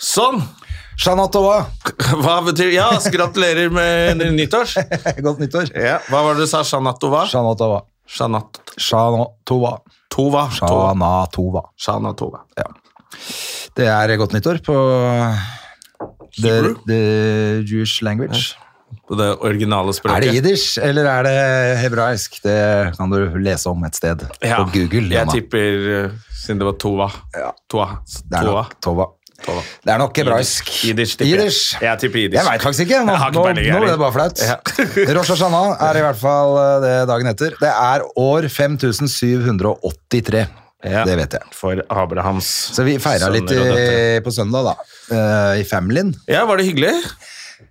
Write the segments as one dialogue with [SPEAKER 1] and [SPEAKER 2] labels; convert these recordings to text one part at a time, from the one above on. [SPEAKER 1] Sånn!
[SPEAKER 2] Jeanette Aubin,
[SPEAKER 1] Hva betyr Ja, altså, gratulerer med nyttårs.
[SPEAKER 2] godt nyttår.
[SPEAKER 1] Ja, hva var det du sa? Shanatova?
[SPEAKER 2] Jeanette Aubin.
[SPEAKER 1] Shanatova.
[SPEAKER 2] Shanatova.
[SPEAKER 1] Tova.
[SPEAKER 2] Shanatova.
[SPEAKER 1] Shanatova.
[SPEAKER 2] Det er godt nyttår på the,
[SPEAKER 1] Hebrew?
[SPEAKER 2] the Jewish language.
[SPEAKER 1] På det originale språket.
[SPEAKER 2] Er det jiddisch, eller er det hebraisk? Det kan du lese om et sted
[SPEAKER 1] Ja.
[SPEAKER 2] på Google.
[SPEAKER 1] Jeg
[SPEAKER 2] Jonna.
[SPEAKER 1] tipper, eh, siden det var Tova Toa.
[SPEAKER 2] det er
[SPEAKER 1] Toa.
[SPEAKER 2] nok Tova.
[SPEAKER 1] Tova.
[SPEAKER 2] Det er nok hebraisk.
[SPEAKER 1] Jiddisch, tipper jeg. Jeg tipper jiddisch.
[SPEAKER 2] Jeg veit faktisk ikke. Nå,
[SPEAKER 1] Jeg har ikke
[SPEAKER 2] nå,
[SPEAKER 1] peiling, jeg
[SPEAKER 2] nå ble det
[SPEAKER 1] heller.
[SPEAKER 2] bare flaut. Rosh Hashanah er i hvert fall eh, det dagen etter. Det er år 5783.
[SPEAKER 1] Ja.
[SPEAKER 2] Det vet jeg.
[SPEAKER 1] For Abrahams
[SPEAKER 2] Så vi feira
[SPEAKER 1] sønner
[SPEAKER 2] litt i,
[SPEAKER 1] og døtre.
[SPEAKER 2] på søndag, da. eh, I Familyen.
[SPEAKER 1] Ja, var det hyggelig?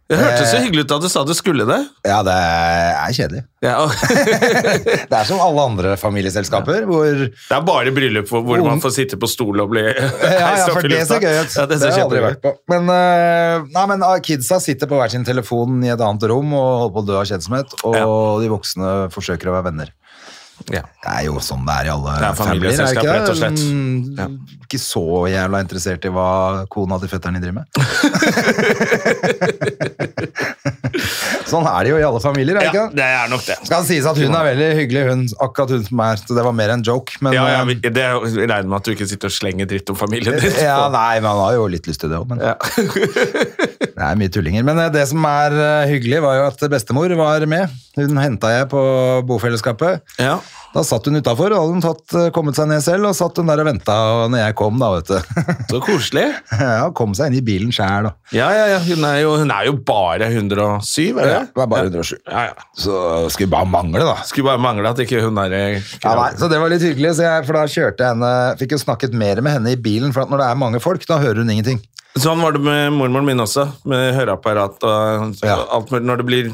[SPEAKER 1] Det hørtes så
[SPEAKER 2] Eh.
[SPEAKER 1] hyggelig ut da du sa du skulle det.
[SPEAKER 2] Ja, det er kjedelig.
[SPEAKER 1] Ja, og-
[SPEAKER 2] Det er som alle andre familieselskaper, hvor
[SPEAKER 1] Det er bare bryllup hvor, hvor man
[SPEAKER 2] Ung-
[SPEAKER 1] får sitte på stol og bli
[SPEAKER 2] ja, ja,
[SPEAKER 1] heist opp
[SPEAKER 2] for
[SPEAKER 1] i
[SPEAKER 2] det
[SPEAKER 1] lufta.
[SPEAKER 2] ser gøy ut.
[SPEAKER 1] Ja, det ser
[SPEAKER 2] har jeg aldri
[SPEAKER 1] kjempegøy
[SPEAKER 2] vært på. Men, eh, nei, men ah, kidsa sitter på hver sin telefon i et annet rom og holder på å dø av kjedsomhet, og de voksne forsøker å være venner.
[SPEAKER 1] Ja.
[SPEAKER 2] Det er jo sånn det er i alle
[SPEAKER 1] Det er
[SPEAKER 2] familier, er det
[SPEAKER 1] familieselskap,
[SPEAKER 2] ikke det?
[SPEAKER 1] rett og slett.
[SPEAKER 2] Mm, Ikke så jævla interessert i hva kona til fetteren din driver med. sånn er det jo i alle familier, er det
[SPEAKER 1] Ja,
[SPEAKER 2] ikke det?
[SPEAKER 1] det er nok det.
[SPEAKER 2] Skal det sies at hun er veldig hyggelig, hun, akkurat hun som er, så det var mer en joke, men
[SPEAKER 1] Ja, ja,
[SPEAKER 2] eh,
[SPEAKER 1] vi- det er jo- jeg regner med at du ikke sitter og slenger dritt om familien din.
[SPEAKER 2] Ja, nei, men han har jo litt lyst til det òg, men Det er mye tullinger. Men eh, det som er eh, hyggelig, var jo at bestemor var med. Hun henta jeg på bofellesskapet.
[SPEAKER 1] Ja.
[SPEAKER 2] Da satt hun utafor, og hadde hun tatt, eh, kommet seg ned selv, og satt hun der og venta når jeg kom, da, vet du.
[SPEAKER 1] Så koselig.
[SPEAKER 2] ja, kom seg inn i bilen sjæl, da.
[SPEAKER 1] Ja, ja, ja. Hun er jo, hun er jo bare 107, er det?
[SPEAKER 2] Ja, det var bare 107.
[SPEAKER 1] Ja, ja.
[SPEAKER 2] Så skulle bare mangle, da.
[SPEAKER 1] Skulle bare mangle at ikke hun er eh,
[SPEAKER 2] Ja, nei, så det var litt hyggelig, så jeg, for da kjørte jeg henne Fikk jo snakket mer med henne i bilen, for at når det er mange folk, da hører hun ingenting.
[SPEAKER 1] Sånn var det med mormoren min også, med høreapparat og
[SPEAKER 2] Ja.
[SPEAKER 1] alt mulig. Når det blir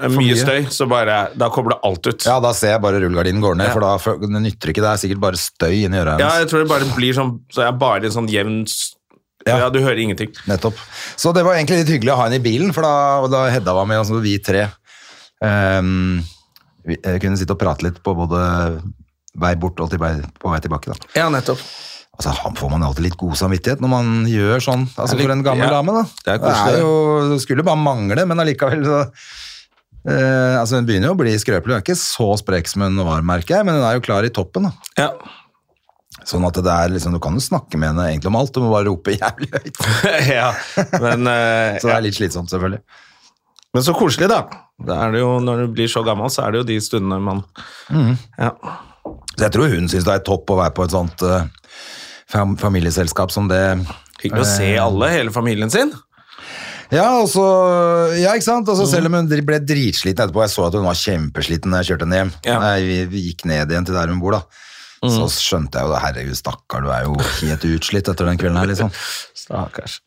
[SPEAKER 1] eh,
[SPEAKER 2] mye.
[SPEAKER 1] mye støy, så bare Da kobler alt ut.
[SPEAKER 2] Ja, da ser jeg bare rullegardinen går ned,
[SPEAKER 1] Ja.
[SPEAKER 2] for da fø- det nytter ikke. Det er sikkert bare støy inni øret hennes.
[SPEAKER 1] Ja, jeg tror det bare blir sånn Så jeg er bare sånn jevn s-
[SPEAKER 2] Ja.
[SPEAKER 1] Ja, du hører ingenting.
[SPEAKER 2] Nettopp. Så det var egentlig litt hyggelig å ha henne i bilen, for da, da Hedda var med, og så vi tre ehm, vi, eh, kunne sitte og prate litt på både vei bort og til vei, på vei tilbake. Da.
[SPEAKER 1] Ja, nettopp.
[SPEAKER 2] Altså, han får man jo alltid litt god samvittighet når man gjør sånn, altså
[SPEAKER 1] Det er litt-
[SPEAKER 2] for en gammel
[SPEAKER 1] ja,
[SPEAKER 2] dame. Da.
[SPEAKER 1] det er koselig, det.
[SPEAKER 2] jo, det skulle bare mangle, men allikevel så eh, altså Hun begynner jo å bli skrøpelig, hun er ikke så sprek som hun var, merker jeg, men hun er jo klar i toppen. Da.
[SPEAKER 1] Ja.
[SPEAKER 2] Sånn at det er liksom, Du kan jo snakke med henne egentlig om alt, du må bare rope jævlig høyt.
[SPEAKER 1] ja. Men, eh,
[SPEAKER 2] Så det er litt slitsomt, selvfølgelig.
[SPEAKER 1] men så koselig, da. Det er det jo, når du blir så gammel, så er det jo de stundene man
[SPEAKER 2] Mm.
[SPEAKER 1] ja.
[SPEAKER 2] Så jeg tror hun syns det er topp å være på et sånt eh, fam familieselskap som det.
[SPEAKER 1] Hyggelig å se
[SPEAKER 2] Eh.
[SPEAKER 1] alle, hele familien sin.
[SPEAKER 2] Ja, og så- ja ikke sant? Og så selv om hun dri- ble dritsliten etterpå, jeg så at hun var kjempesliten da jeg kjørte henne hjem.
[SPEAKER 1] Ja.
[SPEAKER 2] Nei, vi, vi gikk ned igjen til der hun bor, da. Så skjønte jeg jo det. Herregud, stakkar, du er jo helt utslitt etter den kvelden her, liksom.
[SPEAKER 1] Stakkars.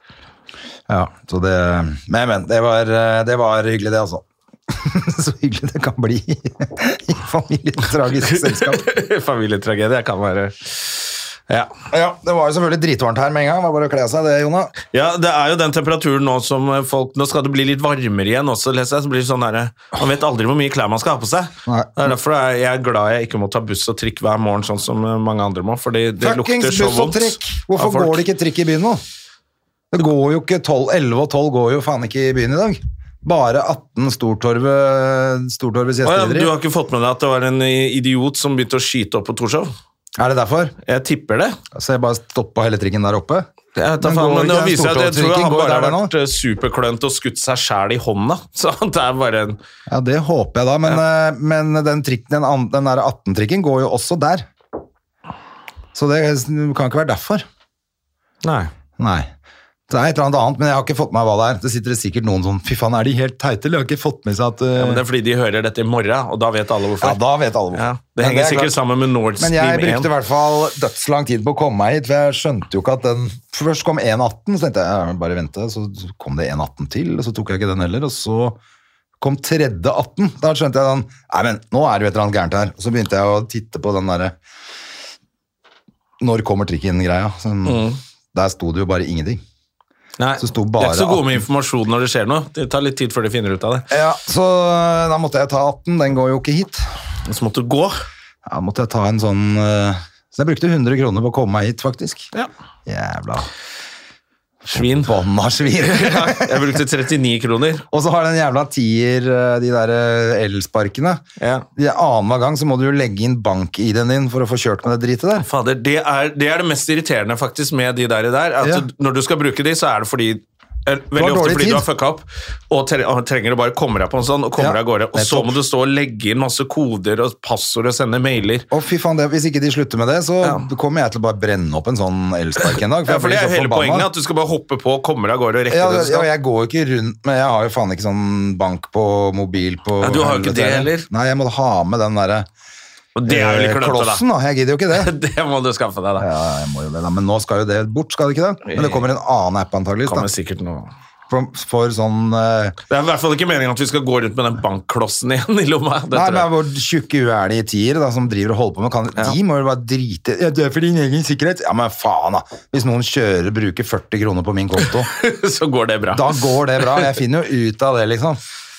[SPEAKER 2] Ja, så det Men, men. Det var, eh, det var hyggelig, det, altså. så hyggelig det kan bli i familietragisk selskap.
[SPEAKER 1] Familietragedie kan være ja.
[SPEAKER 2] Ja, det var jo selvfølgelig dritvarmt her med en gang. Det var bare å kle av seg, det, Jonna.
[SPEAKER 1] ja, det er jo den temperaturen nå som eh, folk Nå skal det bli litt varmere igjen også, leser jeg. Så blir det sånn der, man vet aldri hvor mye klær man skal ha på seg.
[SPEAKER 2] Nei.
[SPEAKER 1] Det er derfor jeg jeg er glad jeg ikke må ta buss og trikk hver morgen, sånn som eh, mange andre må. Fordi det
[SPEAKER 2] Fuckings
[SPEAKER 1] lukter
[SPEAKER 2] buss
[SPEAKER 1] så
[SPEAKER 2] og
[SPEAKER 1] vondt.
[SPEAKER 2] trikk! Hvorfor
[SPEAKER 1] av folk.
[SPEAKER 2] går det ikke trikk i byen nå? Det går jo ikke 12, 11 og 12 går jo faen ikke i byen i dag. Bare 18 Stortorvet, Stortorvets
[SPEAKER 1] Å ja,
[SPEAKER 2] gjestgivere.
[SPEAKER 1] du har ikke fått med deg at det var en eh, idiot som begynte å skyte opp på Torshov?
[SPEAKER 2] Er det derfor?
[SPEAKER 1] Jeg tipper det.
[SPEAKER 2] Så jeg bare stoppa hele trikken der oppe?
[SPEAKER 1] Jeg, tar
[SPEAKER 2] Men
[SPEAKER 1] faen,
[SPEAKER 2] går ikke
[SPEAKER 1] men det
[SPEAKER 2] den
[SPEAKER 1] viser at jeg tror
[SPEAKER 2] Stortorvet-trikken
[SPEAKER 1] han
[SPEAKER 2] går
[SPEAKER 1] bare
[SPEAKER 2] der
[SPEAKER 1] har
[SPEAKER 2] nå?
[SPEAKER 1] vært eh, superklønt og skutt seg sjæl i hånda. Så det er bare en
[SPEAKER 2] Ja, det håper jeg da, men, eh, men den, trikken, den, an- den der 18-trikken går jo også der. Så det kan ikke være derfor.
[SPEAKER 1] Nei.
[SPEAKER 2] Nei. Så det er et eller annet annet, men jeg har ikke fått med meg hva det er. Det sitter det sikkert noen sånn Fy faen, er de helt teite, eller? Jeg har ikke fått med seg at eh,
[SPEAKER 1] Ja, men det er fordi de hører dette i morgen, og da vet alle hvorfor.
[SPEAKER 2] Ja, da vet alle hvorfor.
[SPEAKER 1] Ja,
[SPEAKER 2] Men
[SPEAKER 1] det henger
[SPEAKER 2] er
[SPEAKER 1] sikkert
[SPEAKER 2] klart.
[SPEAKER 1] sammen med Nord
[SPEAKER 2] Men jeg
[SPEAKER 1] Stream
[SPEAKER 2] brukte i
[SPEAKER 1] 1.
[SPEAKER 2] hvert fall dødslang tid på å komme meg hit, for jeg skjønte jo ikke at den Først kom 1.18, så tenkte jeg ja, men bare vente, så kom det 1.18 til, og så tok jeg ikke den heller, og så kom tredje 18. Da skjønte jeg sånn Nei, men nå er det jo et eller annet gærent her. Og så begynte jeg å titte på den derre Når kommer trikken-greia. Sånn, Der sto det jo bare ingenting.
[SPEAKER 1] Nei,
[SPEAKER 2] så sto
[SPEAKER 1] de
[SPEAKER 2] bare
[SPEAKER 1] er ikke så gode med
[SPEAKER 2] at-
[SPEAKER 1] informasjon når det skjer noe. Det tar litt tid før de finner ut av det.
[SPEAKER 2] Ja, Så eh, da måtte jeg ta 18. Den går jo ikke hit.
[SPEAKER 1] Så måtte du gå.
[SPEAKER 2] Da måtte jeg ta en sånn eh, Så jeg brukte 100 kroner på å komme meg hit, faktisk.
[SPEAKER 1] Ja.
[SPEAKER 2] Jævla
[SPEAKER 1] Svin.
[SPEAKER 2] Forbanna svin.
[SPEAKER 1] Ja, jeg brukte 39 kroner.
[SPEAKER 2] og så har den jævla tier, eh, de der eh, elsparkene.
[SPEAKER 1] Ja.
[SPEAKER 2] De Annenhver gang så må du jo legge inn bank-ID-en din for å få kjørt med det dritet der.
[SPEAKER 1] Fader, det er, det er det mest irriterende faktisk med de der, der at
[SPEAKER 2] Ja.
[SPEAKER 1] når du skal bruke de, så er det fordi eh, Veldig
[SPEAKER 2] har
[SPEAKER 1] ofte
[SPEAKER 2] dårlig
[SPEAKER 1] fordi
[SPEAKER 2] tid.
[SPEAKER 1] du har fucka opp og tre- og trenger å bare komme deg på en sånn og kommer
[SPEAKER 2] Ja,
[SPEAKER 1] deg av gårde. Og så
[SPEAKER 2] nettopp.
[SPEAKER 1] må du stå og legge inn masse koder og passord og sende mailer.
[SPEAKER 2] Og fy faen, det, Hvis ikke de slutter med det, så
[SPEAKER 1] Ja.
[SPEAKER 2] kommer jeg til å bare brenne opp en sånn elspark en dag.
[SPEAKER 1] Ja, for Det
[SPEAKER 2] jeg blir
[SPEAKER 1] er
[SPEAKER 2] så
[SPEAKER 1] hele
[SPEAKER 2] forbanna.
[SPEAKER 1] poenget, at du skal bare hoppe på og komme deg av gårde og rekke
[SPEAKER 2] ja,
[SPEAKER 1] det du
[SPEAKER 2] ja,
[SPEAKER 1] skal.
[SPEAKER 2] jeg går jo ikke rundt med Jeg har jo faen ikke sånn bank på mobil på
[SPEAKER 1] Ja, du har jo ikke
[SPEAKER 2] helvete
[SPEAKER 1] det heller.
[SPEAKER 2] Nei, jeg må ha med den derre
[SPEAKER 1] Og det er jo litt
[SPEAKER 2] eh,
[SPEAKER 1] klønete,
[SPEAKER 2] klossen, da. Jeg gidder jo ikke det.
[SPEAKER 1] da. Det må du skaffe deg, da.
[SPEAKER 2] Ja, jeg må jo det da. Men nå skal jo det bort, skal det ikke det? Men det kommer en annen app antageligvis da.
[SPEAKER 1] Kommer sikkert noe.
[SPEAKER 2] For, for sånn eh,
[SPEAKER 1] Det er i hvert fall ikke meningen at vi skal gå rundt med den bankklossen igjen i lomma. Det
[SPEAKER 2] Nei,
[SPEAKER 1] tror
[SPEAKER 2] men
[SPEAKER 1] jeg.
[SPEAKER 2] hvor tjukke huet er de i tier da, som driver og holder på med kan, De må jo bare drite ja, Det er for din egen sikkerhet. Ja, men faen, da. Hvis noen kjører og bruker 40 kroner på min konto,
[SPEAKER 1] Så går det bra.
[SPEAKER 2] da går det bra. Jeg finner jo ut av det, liksom.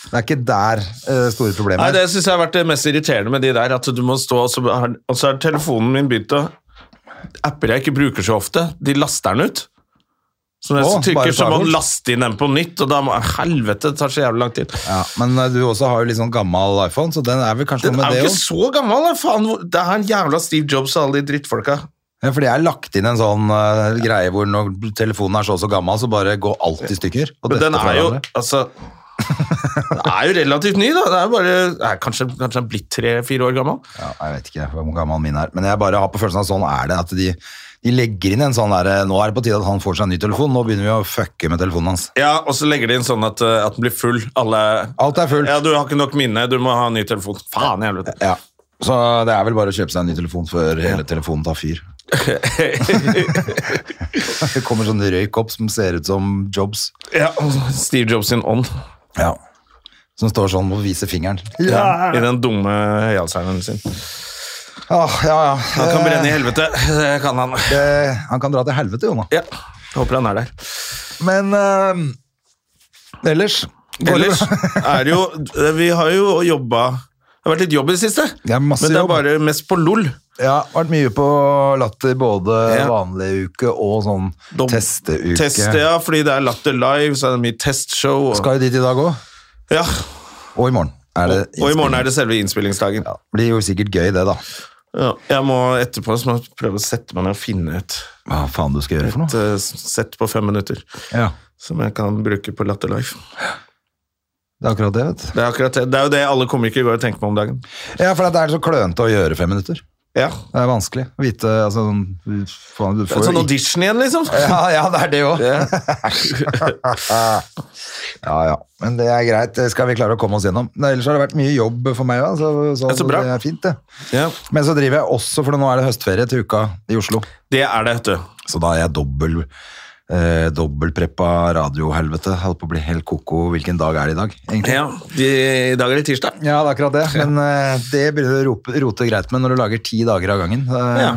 [SPEAKER 2] Det er ikke der eh, store
[SPEAKER 1] Nei,
[SPEAKER 2] problemet
[SPEAKER 1] Det
[SPEAKER 2] er.
[SPEAKER 1] syns jeg har vært det mest irriterende med de der. At du må stå, og så har, og så har telefonen min begynt å Apper jeg ikke bruker så ofte, de laster den ut. Så når jeg
[SPEAKER 2] Å, bare
[SPEAKER 1] trykker, så
[SPEAKER 2] tar
[SPEAKER 1] må
[SPEAKER 2] bort.
[SPEAKER 1] den laste inn den på nytt, og da må Helvete, det tar så jævlig lang tid.
[SPEAKER 2] Ja, men eh, du også har jo litt sånn gammel iPhone, så den er vel kanskje
[SPEAKER 1] Den
[SPEAKER 2] noe
[SPEAKER 1] er
[SPEAKER 2] med
[SPEAKER 1] jo
[SPEAKER 2] det
[SPEAKER 1] ikke
[SPEAKER 2] òg.
[SPEAKER 1] så gammel, da, faen. hvor- Det er en jævla Steve Jobs og alle de drittfolka.
[SPEAKER 2] Ja, fordi jeg har lagt inn en sånn eh, greie hvor når telefonen er så og så gammel, så bare går alt i stykker. og
[SPEAKER 1] Men
[SPEAKER 2] detter
[SPEAKER 1] den
[SPEAKER 2] fra
[SPEAKER 1] er jo
[SPEAKER 2] hverandre.
[SPEAKER 1] Altså Den er jo relativt ny, da. Det er bare, det er kanskje, kanskje den er blitt tre-fire år gammel.
[SPEAKER 2] ja, Jeg vet ikke hvor gammel min er, men jeg bare har på følelsen av at sånn er det. At de, de legger inn en sånn derre Nå er det på tide at han får seg en ny telefon, nå begynner vi å fucke med telefonen hans.
[SPEAKER 1] Ja, Og så legger de inn sånn at, eh, at den blir full. Alle
[SPEAKER 2] Alt er fullt.
[SPEAKER 1] Ja, du har ikke nok minne, du må ha en ny telefon. Faen i helvete.
[SPEAKER 2] Ja. Så det er vel bare å kjøpe seg en ny telefon før hele telefonen tar fyr. Det kommer sånn røyk opp som ser ut som Jobs,
[SPEAKER 1] Ja, Steve Jobs sin ånd
[SPEAKER 2] Ja. som står sånn og viser fingeren.
[SPEAKER 1] i den dumme høyhalseren sin.
[SPEAKER 2] Ah, ja, ja.
[SPEAKER 1] Han kan brenne i helvete, det kan han.
[SPEAKER 2] Eh, han kan dra til helvete, Jonna.
[SPEAKER 1] Ja, Håper han er der.
[SPEAKER 2] Men eh, ellers går det
[SPEAKER 1] Ellers
[SPEAKER 2] bra.
[SPEAKER 1] er det jo Vi har jo jobba Det har vært litt jobb i det siste,
[SPEAKER 2] Det er masse
[SPEAKER 1] men det er
[SPEAKER 2] jobb.
[SPEAKER 1] bare mest på LOL.
[SPEAKER 2] Ja, vært mye på latter både
[SPEAKER 1] Ja.
[SPEAKER 2] vanlig uke og sånn
[SPEAKER 1] Dom-
[SPEAKER 2] testeuke.
[SPEAKER 1] Test, ja, fordi det er Latter Live, så er det mye testshow. Og,
[SPEAKER 2] Skal jo dit i dag òg.
[SPEAKER 1] ja,
[SPEAKER 2] Og i morgen. Er det
[SPEAKER 1] og i morgen er det selve innspillingsdagen.
[SPEAKER 2] Ja, blir jo sikkert gøy, det, da.
[SPEAKER 1] Ja, jeg må etterpå så må jeg prøve å sette meg ned og finne ut
[SPEAKER 2] Hva faen du skal gjøre for
[SPEAKER 1] et
[SPEAKER 2] noe?
[SPEAKER 1] eh, sett på fem minutter
[SPEAKER 2] Ja,
[SPEAKER 1] som jeg kan bruke på Latter Live.
[SPEAKER 2] Det er akkurat det, vet du.
[SPEAKER 1] Det er, akkurat det. det er jo det alle komikere går og tenker på om dagen.
[SPEAKER 2] Ja, for det er så klønete å gjøre fem minutter.
[SPEAKER 1] Ja.
[SPEAKER 2] Det er vanskelig å vite altså, sånn, faen, du
[SPEAKER 1] Det
[SPEAKER 2] får jo
[SPEAKER 1] er sånn
[SPEAKER 2] ikke-
[SPEAKER 1] audition igjen, liksom.
[SPEAKER 2] ja, ja, det er det òg. Ja, ja. Men det er greit. Det skal vi klare å komme oss gjennom. Nei, Ellers har det vært mye jobb for meg òg, så, så,
[SPEAKER 1] Ja, så bra.
[SPEAKER 2] det er fint, det.
[SPEAKER 1] Ja.
[SPEAKER 2] Men så driver jeg også, for nå er det høstferie til uka i Oslo.
[SPEAKER 1] Det er det, vet du.
[SPEAKER 2] Så da er jeg dobbel eh, Dobbeltpreppa radiohelvete. Holdt på å bli helt koko. Hvilken dag er det i dag, egentlig?
[SPEAKER 1] Ja. De, I dag er det tirsdag.
[SPEAKER 2] Ja, det er akkurat det. Men eh, det begynner du å rope- rote greit med når du lager ti dager av gangen. Eh,
[SPEAKER 1] Ja.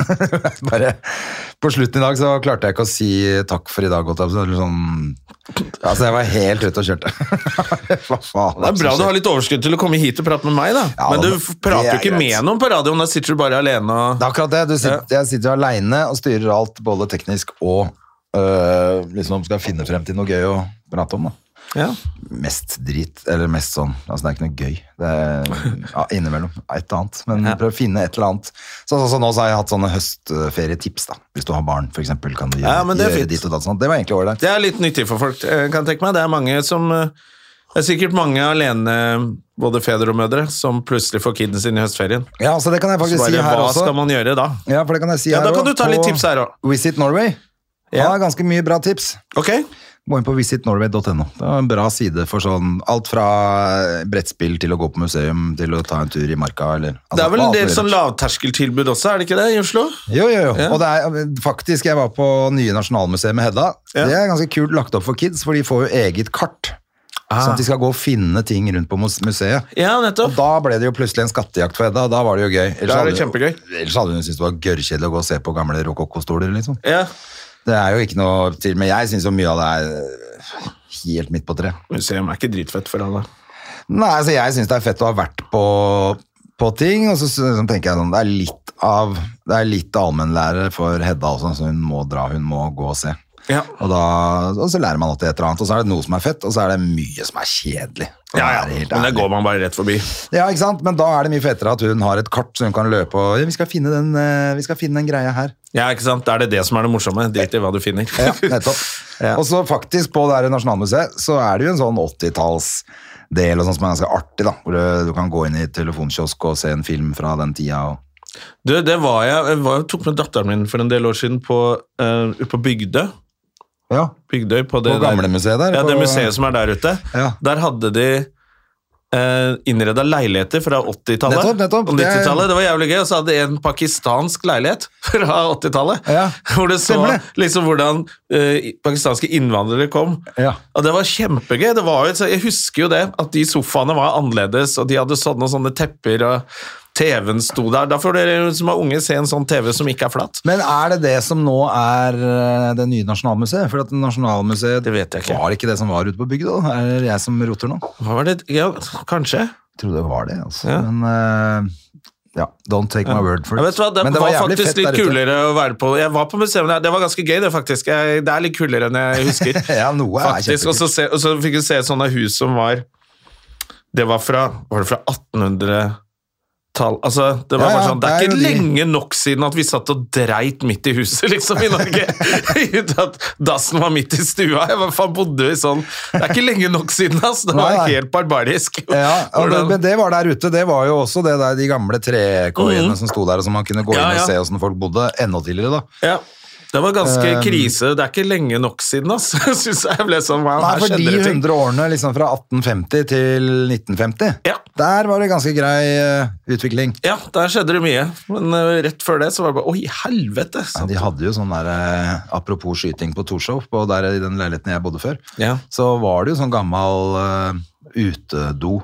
[SPEAKER 2] Bare På slutten i dag så klarte jeg ikke å si takk for i dag. Godt, altså, eller sånn, altså, jeg var helt ute og kjørte. Hva faen?
[SPEAKER 1] Det er bra du har litt overskudd til å komme hit og prate med meg, da.
[SPEAKER 2] Ja,
[SPEAKER 1] Men du
[SPEAKER 2] men
[SPEAKER 1] f-
[SPEAKER 2] det
[SPEAKER 1] prater
[SPEAKER 2] er
[SPEAKER 1] jo ikke
[SPEAKER 2] greit.
[SPEAKER 1] med noen på radioen, da sitter du bare alene og
[SPEAKER 2] Det er akkurat det. Du sitter, Jeg sitter jo aleine og styrer alt, både teknisk og øh, liksom skal finne frem til noe gøy å prate om. da.
[SPEAKER 1] ja.
[SPEAKER 2] Mest drit, eller mest sånn altså Det er ikke noe gøy. Det er ja, Innimellom et og annet. Men prøv å finne et eller annet. Så, så, så Nå så har jeg hatt sånne høstferietips. da. Hvis du har barn, for eksempel, kan du gjøre,
[SPEAKER 1] Ja, men det er
[SPEAKER 2] gjøre
[SPEAKER 1] fint.
[SPEAKER 2] ditt og datt. Sånn. Det var egentlig ålreit.
[SPEAKER 1] Det er litt nyttig for folk, eh, kan jeg tenke meg. Det er mange som eh, Det er sikkert mange alene, både fedre og mødre, som plutselig får kiden sin i høstferien.
[SPEAKER 2] Ja, så det kan jeg
[SPEAKER 1] Så
[SPEAKER 2] faktisk
[SPEAKER 1] bare,
[SPEAKER 2] si her
[SPEAKER 1] hva
[SPEAKER 2] også.
[SPEAKER 1] skal man gjøre da?
[SPEAKER 2] Ja, for det kan jeg si
[SPEAKER 1] Ja,
[SPEAKER 2] her
[SPEAKER 1] da kan
[SPEAKER 2] også,
[SPEAKER 1] du ta litt
[SPEAKER 2] på
[SPEAKER 1] tips her også.
[SPEAKER 2] Visit Norway. Ja. Han har ganske mye bra tips.
[SPEAKER 1] Ok,
[SPEAKER 2] Gå inn på visitnorway.no. Det er en bra side for sånn alt fra eh, brettspill til å gå på museum til å ta en tur i marka eller
[SPEAKER 1] Det
[SPEAKER 2] altså,
[SPEAKER 1] er vel en
[SPEAKER 2] alt
[SPEAKER 1] del
[SPEAKER 2] mulig
[SPEAKER 1] sånn
[SPEAKER 2] rart.
[SPEAKER 1] lavterskeltilbud også, er det ikke det, i Oslo?
[SPEAKER 2] Jo, jo, jo.
[SPEAKER 1] Ja.
[SPEAKER 2] Og det er, eh, faktisk, jeg var på nye Nasjonalmuseet med Hedda.
[SPEAKER 1] Ja.
[SPEAKER 2] Det er ganske kult lagt opp for kids, for de får jo eget kart.
[SPEAKER 1] Ah.
[SPEAKER 2] Sånn at de skal gå og finne ting rundt på muse- museet.
[SPEAKER 1] Ja, nettopp.
[SPEAKER 2] Og da ble det jo plutselig en skattejakt for Hedda, og da var det jo gøy. Ellers
[SPEAKER 1] Da er det
[SPEAKER 2] hadde-
[SPEAKER 1] kjempegøy.
[SPEAKER 2] Ellers hadde hun syntes det var gørrkjedelig å gå og se på gamle rokokkostoler, liksom.
[SPEAKER 1] Ja,
[SPEAKER 2] Det er jo ikke noe til, men jeg syns jo mye av det er øh, helt midt på treet.
[SPEAKER 1] Museum er ikke dritfett for alle.
[SPEAKER 2] Nei, altså jeg synes det er fett å ha vært på, på ting, og så, så tenker jeg sånn, det er litt av, det er litt allmennlære for Hedda også, så hun må dra, hun må gå og se.
[SPEAKER 1] Ja.
[SPEAKER 2] Og, da, og så lærer man alltid et eller annet, og så er det noe som er fett, og så er det mye som er kjedelig. for å
[SPEAKER 1] Ja, ja,
[SPEAKER 2] være helt
[SPEAKER 1] men det
[SPEAKER 2] ærlig.
[SPEAKER 1] går man bare rett forbi.
[SPEAKER 2] Ja, ikke sant? Men da er det mye fettere at hun har et kart, så hun kan løpe og, ja, vi skal finne den, eh, vi skal finne den greia her.
[SPEAKER 1] Ja, ikke sant? Da er det det som er det morsomme. Drit i hva du finner.
[SPEAKER 2] Ja, nettopp.
[SPEAKER 1] Ja.
[SPEAKER 2] Og så faktisk på det her Nasjonalmuseet så er det jo en sånn 80-tallsdel og sånn som er ganske artig, da. Hvor du- du kan gå inn i telefonkiosk og se en film fra den tida. Og...
[SPEAKER 1] Du, det var jeg, jeg var, tok med datteren min for en del år siden på, eh, ut på Bygdø.
[SPEAKER 2] Ja.
[SPEAKER 1] Bygdøy på det
[SPEAKER 2] På gamlemuseet der?
[SPEAKER 1] Ja, det
[SPEAKER 2] på-
[SPEAKER 1] museet som er der ute.
[SPEAKER 2] Ja.
[SPEAKER 1] Der hadde de eh, innreda leiligheter fra 80-tallet
[SPEAKER 2] Nettopp, nettopp.
[SPEAKER 1] og 90-tallet. Det var jævlig gøy. Og så hadde de en pakistansk leilighet fra 80-tallet.
[SPEAKER 2] Ja,
[SPEAKER 1] Hvor du så
[SPEAKER 2] stemmer det.
[SPEAKER 1] liksom hvordan eh, pakistanske innvandrere kom.
[SPEAKER 2] Ja.
[SPEAKER 1] Og det var kjempegøy. Det var jo, et- jeg husker jo det, at de sofaene var annerledes, og de hadde sånne og sånne tepper. og TV-en sto der. Da får dere som er unge se en sånn TV som ikke er flat.
[SPEAKER 2] Men er det det som nå er eh, det nye Nasjonalmuseet? For at Nasjonalmuseet
[SPEAKER 1] Det vet jeg ikke.
[SPEAKER 2] var ikke det som var ute på bygda. da. Er det jeg som roter nå?
[SPEAKER 1] Hva var det? Ja, kanskje.
[SPEAKER 2] Jeg trodde det var det, altså.
[SPEAKER 1] Ja.
[SPEAKER 2] Men eh, ja, don't take my word for
[SPEAKER 1] Ja,
[SPEAKER 2] it.
[SPEAKER 1] vet du hva, det,
[SPEAKER 2] Men
[SPEAKER 1] var,
[SPEAKER 2] jævlig
[SPEAKER 1] faktisk
[SPEAKER 2] fett
[SPEAKER 1] litt
[SPEAKER 2] der ute.
[SPEAKER 1] kulere å være på. Jeg var på museum, der. det var ganske gøy det faktisk. Jeg, det er litt kulere enn jeg husker.
[SPEAKER 2] Ja, noe er
[SPEAKER 1] faktisk, og, så se, og så fikk vi se sånne hus som var, det var fra, var det fra 1800-tall? Altså, det var
[SPEAKER 2] Ja, ja,
[SPEAKER 1] bare sånn, det
[SPEAKER 2] det
[SPEAKER 1] er
[SPEAKER 2] er
[SPEAKER 1] ikke
[SPEAKER 2] jo de-
[SPEAKER 1] lenge nok siden at vi satt og dreit midt i huset liksom i Norge. Uten at dassen var midt i stua. Jeg bare faen bodde i sånn, det er ikke lenge nok siden, ass. Det var
[SPEAKER 2] Nei, nei.
[SPEAKER 1] helt barbarisk.
[SPEAKER 2] Ja, ja,
[SPEAKER 1] Hvordan-
[SPEAKER 2] men- men det var der ute. Det var jo også det der, de gamle trekoiene
[SPEAKER 1] Mhm.
[SPEAKER 2] som sto der, og som man kunne gå
[SPEAKER 1] Ja,
[SPEAKER 2] inn og
[SPEAKER 1] ja.
[SPEAKER 2] se åssen folk bodde. Enda tidligere, da.
[SPEAKER 1] Ja. Det var ganske
[SPEAKER 2] Um,
[SPEAKER 1] krise. Det er ikke lenge nok siden, ass. Jeg synes jeg ble sånn, wow,
[SPEAKER 2] Nei,
[SPEAKER 1] her
[SPEAKER 2] for de
[SPEAKER 1] skjedde det ting.
[SPEAKER 2] 100 årene liksom fra 1850 til 1950,
[SPEAKER 1] Ja.
[SPEAKER 2] der var det ganske grei eh, utvikling.
[SPEAKER 1] Ja, der skjedde det mye. Men eh, rett før det så var det bare Oi, helvete!
[SPEAKER 2] Ja, de hadde jo sånn der eh, Apropos skyting på Torshov, på der i den leiligheten jeg bodde før,
[SPEAKER 1] Ja.
[SPEAKER 2] så var det jo sånn gammel eh, utedo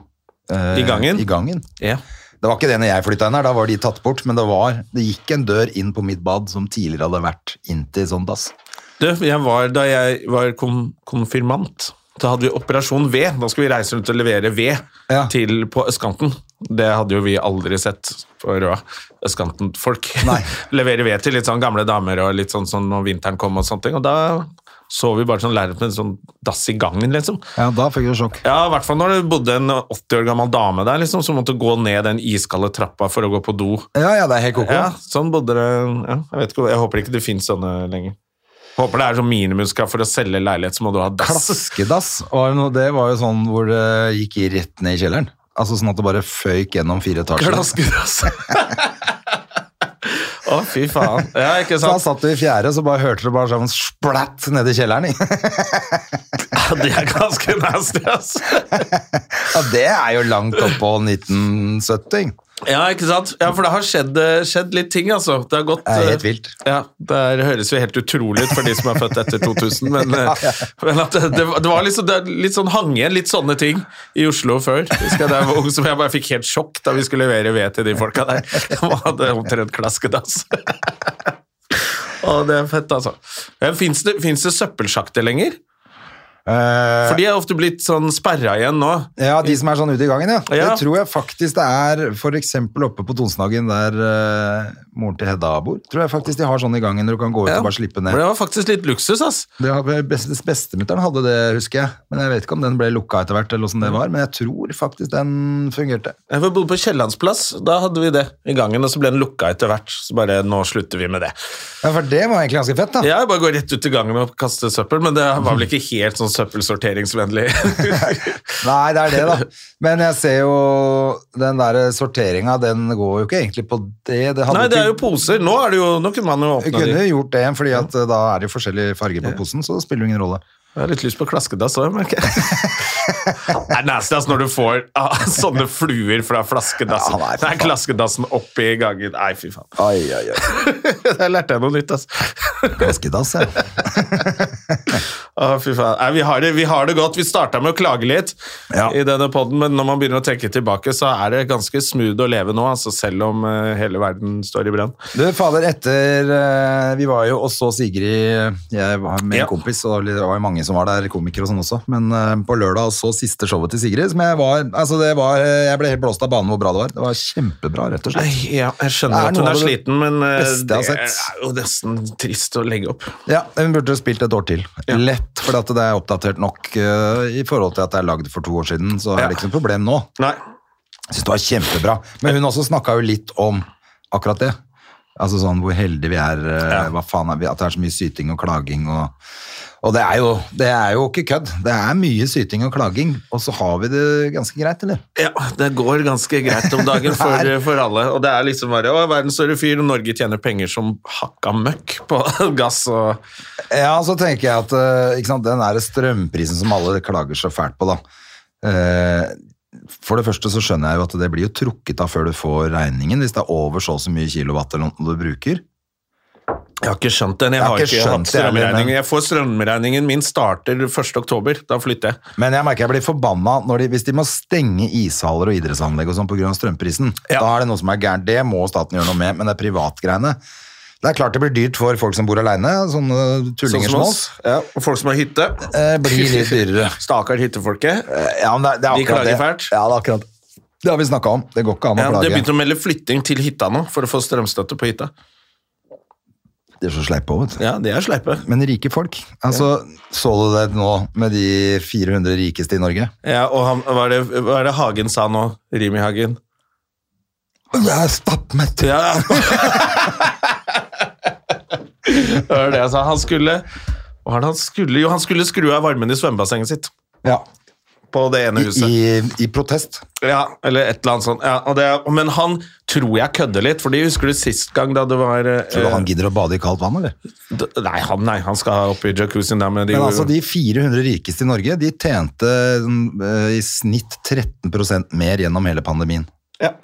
[SPEAKER 2] eh,
[SPEAKER 1] I gangen?
[SPEAKER 2] I gangen.
[SPEAKER 1] Ja.
[SPEAKER 2] Det var ikke det når jeg flytta inn her, da var de tatt bort, men det var Det gikk en dør inn på mitt bad som tidligere hadde vært inntil sånn dass.
[SPEAKER 1] Du, jeg var, da jeg var kon- konfirmant, da hadde vi Operasjon V. Da skulle vi reise rundt og levere ved
[SPEAKER 2] Ja.
[SPEAKER 1] til, på østkanten. Det hadde jo vi aldri sett for uh, østkanten-folk.
[SPEAKER 2] Nei.
[SPEAKER 1] levere ved til litt sånn gamle damer og litt sånn sånn når vinteren kom og sånne ting. Og da så vi bare sånn lerret med en sånn dass i gangen, liksom.
[SPEAKER 2] Ja, da fikk du sjokk.
[SPEAKER 1] Ja, i hvert fall når det bodde en 80 år gammel dame der, liksom, som måtte gå ned den iskalde trappa for å gå på do.
[SPEAKER 2] Ja, ja, det er helt koko.
[SPEAKER 1] Ja, sånn bodde det. Ja, jeg, vet ikke, jeg håper ikke det finnes sånne lenger. Håper det er sånn minimumskrav for å selge leilighet, så må du ha dass.
[SPEAKER 2] Klaskedass var jo noe, det var jo sånn hvor det gikk rett ned i kjelleren. Altså sånn at det bare føyk gjennom fire etasjer.
[SPEAKER 1] Klaskedass. Å, fy faen. Ja, ikke
[SPEAKER 2] Så da
[SPEAKER 1] sant?
[SPEAKER 2] satt du i fjerde, så bare hørte du bare sånn splatt ned i kjelleren. ja,
[SPEAKER 1] Ja, det er ganske nasty, ass.
[SPEAKER 2] det er jo langt opp på 1970.
[SPEAKER 1] Ja, ikke sant? Ja, for det har skjedd, eh, skjedd litt ting, altså. Det har gått
[SPEAKER 2] Det er
[SPEAKER 1] eh,
[SPEAKER 2] helt vilt.
[SPEAKER 1] Ja, Det er- høres jo helt utrolig ut for de som er født etter 2000, men, eh, men at det, det, var- det var liksom, det er litt sånn hang igjen litt sånne ting i Oslo før. Husker jeg, da jeg var ung, som jeg bare fikk helt sjokk da vi skulle levere ved til de folka der. Det var det omtrent klasket, altså. Å, det er fett, altså. Fins det, finnes det søppelsjakter lenger?
[SPEAKER 2] Eh,
[SPEAKER 1] For de er ofte blitt sånn sperra igjen nå.
[SPEAKER 2] ja, de som er sånn ute i gangen, ja.
[SPEAKER 1] Eh, Ja.
[SPEAKER 2] Det tror jeg faktisk det er, for eksempel oppe på Tonsnagen der eh, moren til Hedda bor, tror jeg faktisk de har sånn i gangen når du kan gå ut
[SPEAKER 1] Ja.
[SPEAKER 2] og bare slippe
[SPEAKER 1] For
[SPEAKER 2] ned.
[SPEAKER 1] det var faktisk litt luksus, ass.
[SPEAKER 2] Det har- best- Bestemutteren hadde det, husker jeg. Men jeg vet ikke om den ble lukka etter hvert, eller hvordan det var. Men jeg tror faktisk den fungerte.
[SPEAKER 1] Jeg var bodde på Kiellandsplass, da hadde vi det i gangen, og så ble den lukka etter hvert. Så bare, nå slutter vi med det.
[SPEAKER 2] Ja, For det var egentlig ganske fett, da.
[SPEAKER 1] Ja, jeg bare går rett ut i gangen og kaster søppel, men det var vel ikke helt sånn søppelsorteringsvennlig.
[SPEAKER 2] Nei, det er det, da. Men jeg ser jo den der sorteringa, den går jo ikke egentlig på det. det hadde
[SPEAKER 1] Nei, det er jo
[SPEAKER 2] ikke-
[SPEAKER 1] poser. Nå, er det jo, nå kunne man jo
[SPEAKER 2] Jeg
[SPEAKER 1] åpna
[SPEAKER 2] kunne
[SPEAKER 1] de.
[SPEAKER 2] jo gjort det, fordi at eh, da er det jo forskjellige farger på posen, så det spiller jo ingen rolle.
[SPEAKER 1] Jeg har litt lyst på klaskedass òg, merker jeg. Det er nasty ass når du får ah, sånne fluer fra flaskedassen.
[SPEAKER 2] Ja, nei, for
[SPEAKER 1] det er klaskedassen oppi gangen. Nei, fy faen.
[SPEAKER 2] Ai, ai, ai.
[SPEAKER 1] Der lærte jeg noe nytt, ass.
[SPEAKER 2] Klaskedass, ja.
[SPEAKER 1] Å, fy faen. Nei, vi, har det, vi har det godt. Vi starta med å klage litt
[SPEAKER 2] Ja.
[SPEAKER 1] i denne podden, men når man begynner å tenke tilbake, så er det ganske smooth å leve nå, altså selv om eh, hele verden står i brann.
[SPEAKER 2] Du, fader, etter eh, Vi var jo og så Sigrid, eh, jeg var med en
[SPEAKER 1] Ja.
[SPEAKER 2] kompis, og det var jo mange som var der, komikere og sånn også, men eh, på lørdag så siste showet til Sigrid, som jeg var Altså, det var eh, Jeg ble helt blåst av banen hvor bra det var. Det var kjempebra, rett og slett.
[SPEAKER 1] Ja, jeg skjønner
[SPEAKER 2] Det er
[SPEAKER 1] at hun
[SPEAKER 2] noe
[SPEAKER 1] er
[SPEAKER 2] av det
[SPEAKER 1] sliten, men eh,
[SPEAKER 2] beste
[SPEAKER 1] det
[SPEAKER 2] jeg har
[SPEAKER 1] er
[SPEAKER 2] sett.
[SPEAKER 1] jo nesten trist å legge opp.
[SPEAKER 2] Ja, hun burde spilt et år til. Lett, for at det er oppdatert nok eh, i forhold til at det er lagd for to år siden, så
[SPEAKER 1] Ja.
[SPEAKER 2] er det ikke noe problem nå.
[SPEAKER 1] Nei.
[SPEAKER 2] Jeg synes det var kjempebra. Men hun også snakka jo litt om akkurat det. Altså sånn hvor heldige vi er, eh,
[SPEAKER 1] Ja.
[SPEAKER 2] hva faen er vi, at det er så mye syting og klaging og Og det er jo, det er jo ikke kødd. Det er mye syting og klaging, og så har vi det ganske greit, eller?
[SPEAKER 1] Ja, det går ganske greit om dagen for,
[SPEAKER 2] Det er-
[SPEAKER 1] for alle. Og det er liksom bare å, verdens større fyr, og Norge tjener penger som hakka møkk på gass og
[SPEAKER 2] Ja, så tenker jeg at eh, ikke sant, den der strømprisen som alle klager så fælt på, da. Eh, For det første så skjønner jeg jo at det blir jo trukket av før du får regningen, hvis det er over så og så mye kilowatt eller noe du bruker.
[SPEAKER 1] Jeg har ikke skjønt den. Jeg,
[SPEAKER 2] Jeg har
[SPEAKER 1] har
[SPEAKER 2] ikke
[SPEAKER 1] ikke hatt
[SPEAKER 2] skjønt det heller,
[SPEAKER 1] strømregningen.
[SPEAKER 2] men-
[SPEAKER 1] Jeg får strømregningen min starter 1. oktober. Da flytter jeg.
[SPEAKER 2] Men jeg merker jeg blir forbanna når de, hvis de må stenge ishaller og idrettsanlegg og sånn pga. strømprisen.
[SPEAKER 1] Ja.
[SPEAKER 2] Da er det noe som er gærent. Det må staten gjøre noe med, men det er privatgreiene. Det er klart det blir dyrt for folk som bor aleine, sånne
[SPEAKER 1] Sånn
[SPEAKER 2] tullinger
[SPEAKER 1] som
[SPEAKER 2] som
[SPEAKER 1] oss.
[SPEAKER 2] oss.
[SPEAKER 1] Ja, og folk som har hytte. Eh,
[SPEAKER 2] Eh, blir litt dyrere.
[SPEAKER 1] Stakkars hyttefolket.
[SPEAKER 2] Ja, men det, det er
[SPEAKER 1] De
[SPEAKER 2] akkurat
[SPEAKER 1] klager
[SPEAKER 2] det.
[SPEAKER 1] fælt.
[SPEAKER 2] Ja, det er akkurat det har vi snakka om. Det går ikke an å
[SPEAKER 1] Ja, det
[SPEAKER 2] klage.
[SPEAKER 1] begynte å melde flytting til hytta nå, for å få strømstøtte på hytta.
[SPEAKER 2] De er så sleipe òg, vet du.
[SPEAKER 1] Ja, det er sleipe.
[SPEAKER 2] Men rike folk. Altså, Så du det nå med de 400 rikeste i Norge?
[SPEAKER 1] Ja, og han, hva, er det, hva er det Hagen sa nå? Rimi Hagen.
[SPEAKER 2] Jeg er stappmett!
[SPEAKER 1] Ja. Det var det jeg sa. Han skulle Hva var det han skulle? Jo, han skulle skru av varmen i svømmebassenget sitt.
[SPEAKER 2] Ja.
[SPEAKER 1] På det ene
[SPEAKER 2] I,
[SPEAKER 1] huset.
[SPEAKER 2] i, I protest.
[SPEAKER 1] Ja, eller et eller annet sånt. Ja, og det, men han tror jeg kødder litt, fordi husker du sist gang da det var eh,
[SPEAKER 2] Tror du han gidder å bade i kaldt vann, eller?
[SPEAKER 1] d- Nei, han, nei, han skal opp i jacuzzien der, men de,
[SPEAKER 2] Men altså, de 400 rikeste i Norge, de tjente mm, eh, i snitt 13 mer gjennom hele pandemien.
[SPEAKER 1] ja.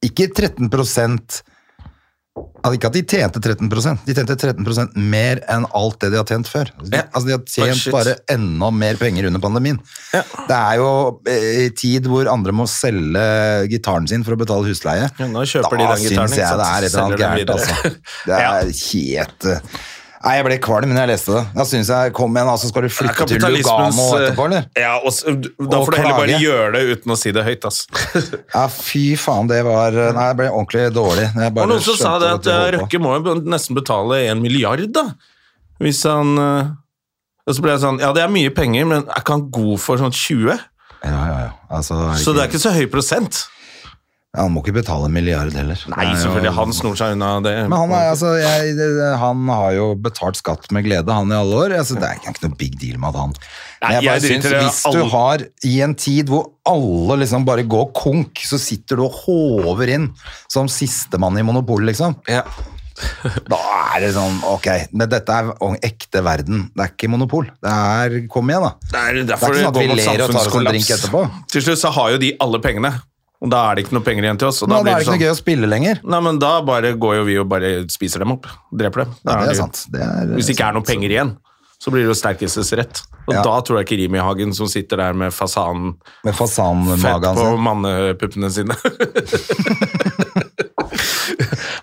[SPEAKER 2] Ikke 13 altså, Ikke at de tjente 13 de tjente 13 mer enn alt det de har tjent før. Altså, de,
[SPEAKER 1] Ja.
[SPEAKER 2] altså, de har
[SPEAKER 1] Fuck
[SPEAKER 2] tjent
[SPEAKER 1] shit.
[SPEAKER 2] bare enda mer penger under pandemien.
[SPEAKER 1] Ja.
[SPEAKER 2] Det er jo eh, i tid hvor andre må selge gitaren sin for å betale husleie.
[SPEAKER 1] Ja, nå kjøper de
[SPEAKER 2] da
[SPEAKER 1] den gitaren,
[SPEAKER 2] syns
[SPEAKER 1] ikke
[SPEAKER 2] jeg
[SPEAKER 1] sant?
[SPEAKER 2] det er et eller
[SPEAKER 1] Så selger
[SPEAKER 2] annet
[SPEAKER 1] de
[SPEAKER 2] gærent,
[SPEAKER 1] den
[SPEAKER 2] altså. Det er helt eh, Nei, jeg ble kvalm da jeg leste det. Da syns jeg Kom igjen, altså, skal du
[SPEAKER 1] Det er
[SPEAKER 2] flytte til
[SPEAKER 1] kapitalismens
[SPEAKER 2] Lugano
[SPEAKER 1] eh,
[SPEAKER 2] etterpå, eller?
[SPEAKER 1] Ja, og, s- da
[SPEAKER 2] Og
[SPEAKER 1] får du heller bare
[SPEAKER 2] klage.
[SPEAKER 1] gjøre det uten å si det høyt, ass. Det
[SPEAKER 2] Ja, fy faen, det var eh, Nei, jeg ble ordentlig dårlig. Jeg bare
[SPEAKER 1] var noen som sa
[SPEAKER 2] skjønte
[SPEAKER 1] det
[SPEAKER 2] hva
[SPEAKER 1] at
[SPEAKER 2] de
[SPEAKER 1] eh,
[SPEAKER 2] holdt på.
[SPEAKER 1] Røkke må jo nesten betale en milliard, da. Hvis han eh, Og så ble jeg sånn Ja, det er mye penger, men er ikke han god for sånn 20?
[SPEAKER 2] Ja, ja, ja. Altså,
[SPEAKER 1] Så det er ikke så høy prosent.
[SPEAKER 2] Han må ikke betale en milliard heller.
[SPEAKER 1] Nei,
[SPEAKER 2] Det er jo-
[SPEAKER 1] selvfølgelig. Han snor seg unna det.
[SPEAKER 2] Men han, er, altså, jeg, det- han har jo betalt skatt med glede, han i alle år. Altså, det er ikke- ikke noe big deal med at han
[SPEAKER 1] Nei,
[SPEAKER 2] Men
[SPEAKER 1] jeg driter
[SPEAKER 2] synes,
[SPEAKER 1] i det.
[SPEAKER 2] Hvis du
[SPEAKER 1] Alle-
[SPEAKER 2] har i en tid hvor alle liksom bare går konk, så sitter du og håver inn som sistemann i Monopol, liksom.
[SPEAKER 1] ja.
[SPEAKER 2] Da er det sånn Ok, men dette er ekte verden. Det er ikke Monopol. Det er Kom igjen, da.
[SPEAKER 1] Det er
[SPEAKER 2] Det er
[SPEAKER 1] derfor
[SPEAKER 2] ikke sånn at
[SPEAKER 1] det
[SPEAKER 2] vi
[SPEAKER 1] går mot
[SPEAKER 2] ler og tar oss en drink
[SPEAKER 1] samfunnskollaps.
[SPEAKER 2] etterpå.
[SPEAKER 1] Til slutt så har jo de alle pengene, og da er det ikke noe penger igjen til oss. Og
[SPEAKER 2] Da,
[SPEAKER 1] da
[SPEAKER 2] da er
[SPEAKER 1] blir
[SPEAKER 2] det
[SPEAKER 1] det
[SPEAKER 2] ikke noe
[SPEAKER 1] sånn
[SPEAKER 2] gøy å spille lenger.
[SPEAKER 1] Nei, men da bare går jo vi og bare spiser dem opp. Dreper dem. Da
[SPEAKER 2] Ja, det er
[SPEAKER 1] jo-
[SPEAKER 2] sant. Det er,
[SPEAKER 1] Hvis det ikke er noe penger igjen, så blir det jo sterkestes rett. Og
[SPEAKER 2] Ja.
[SPEAKER 1] da tror jeg ikke Rimi Hagen som sitter der med fasanen
[SPEAKER 2] Med
[SPEAKER 1] fett
[SPEAKER 2] fasanmagen
[SPEAKER 1] på
[SPEAKER 2] sin.
[SPEAKER 1] mannepuppene sine.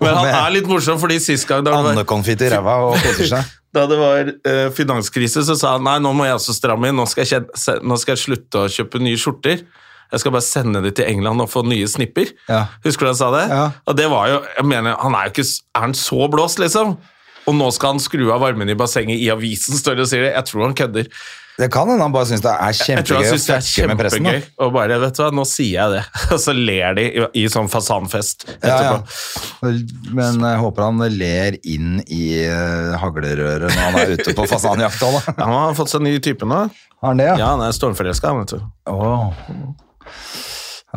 [SPEAKER 1] men han er litt morsom, fordi sist gang da det var-
[SPEAKER 2] Andekonfitt i ræva og koser seg.
[SPEAKER 1] Da det var eh, finanskrise, så sa han nei, nå må jeg også stramme inn. Nå skal, jeg, kjen- se- nå skal jeg slutte å kjøpe nye skjorter. Jeg skal bare sende det til England og få nye snipper.
[SPEAKER 2] Ja.
[SPEAKER 1] Husker du han sa det?
[SPEAKER 2] Ja.
[SPEAKER 1] Og det var jo, jeg mener, han er jo ikke s- Er han så blåst, liksom? og nå skal han skru av varmen i bassenget i avisen, står det og sier det. Jeg tror han kødder.
[SPEAKER 2] Det kan hende han bare syns det er
[SPEAKER 1] Jeg tror han
[SPEAKER 2] kjempegøy å
[SPEAKER 1] synes det er
[SPEAKER 2] fucke med pressen.
[SPEAKER 1] kjempegøy.
[SPEAKER 2] da.
[SPEAKER 1] Og bare, vet du hva, nå sier jeg det. Og så ler de i, i sånn fasanfest etterpå.
[SPEAKER 2] Ja, ja. Men jeg håper han ler inn i eh, haglerøret når han er ute på fasanjakt. også, da.
[SPEAKER 1] Ja, Han har fått seg ny type nå.
[SPEAKER 2] Har han det,
[SPEAKER 1] Ja, han er stormforelska, han, vet du.
[SPEAKER 2] Åh.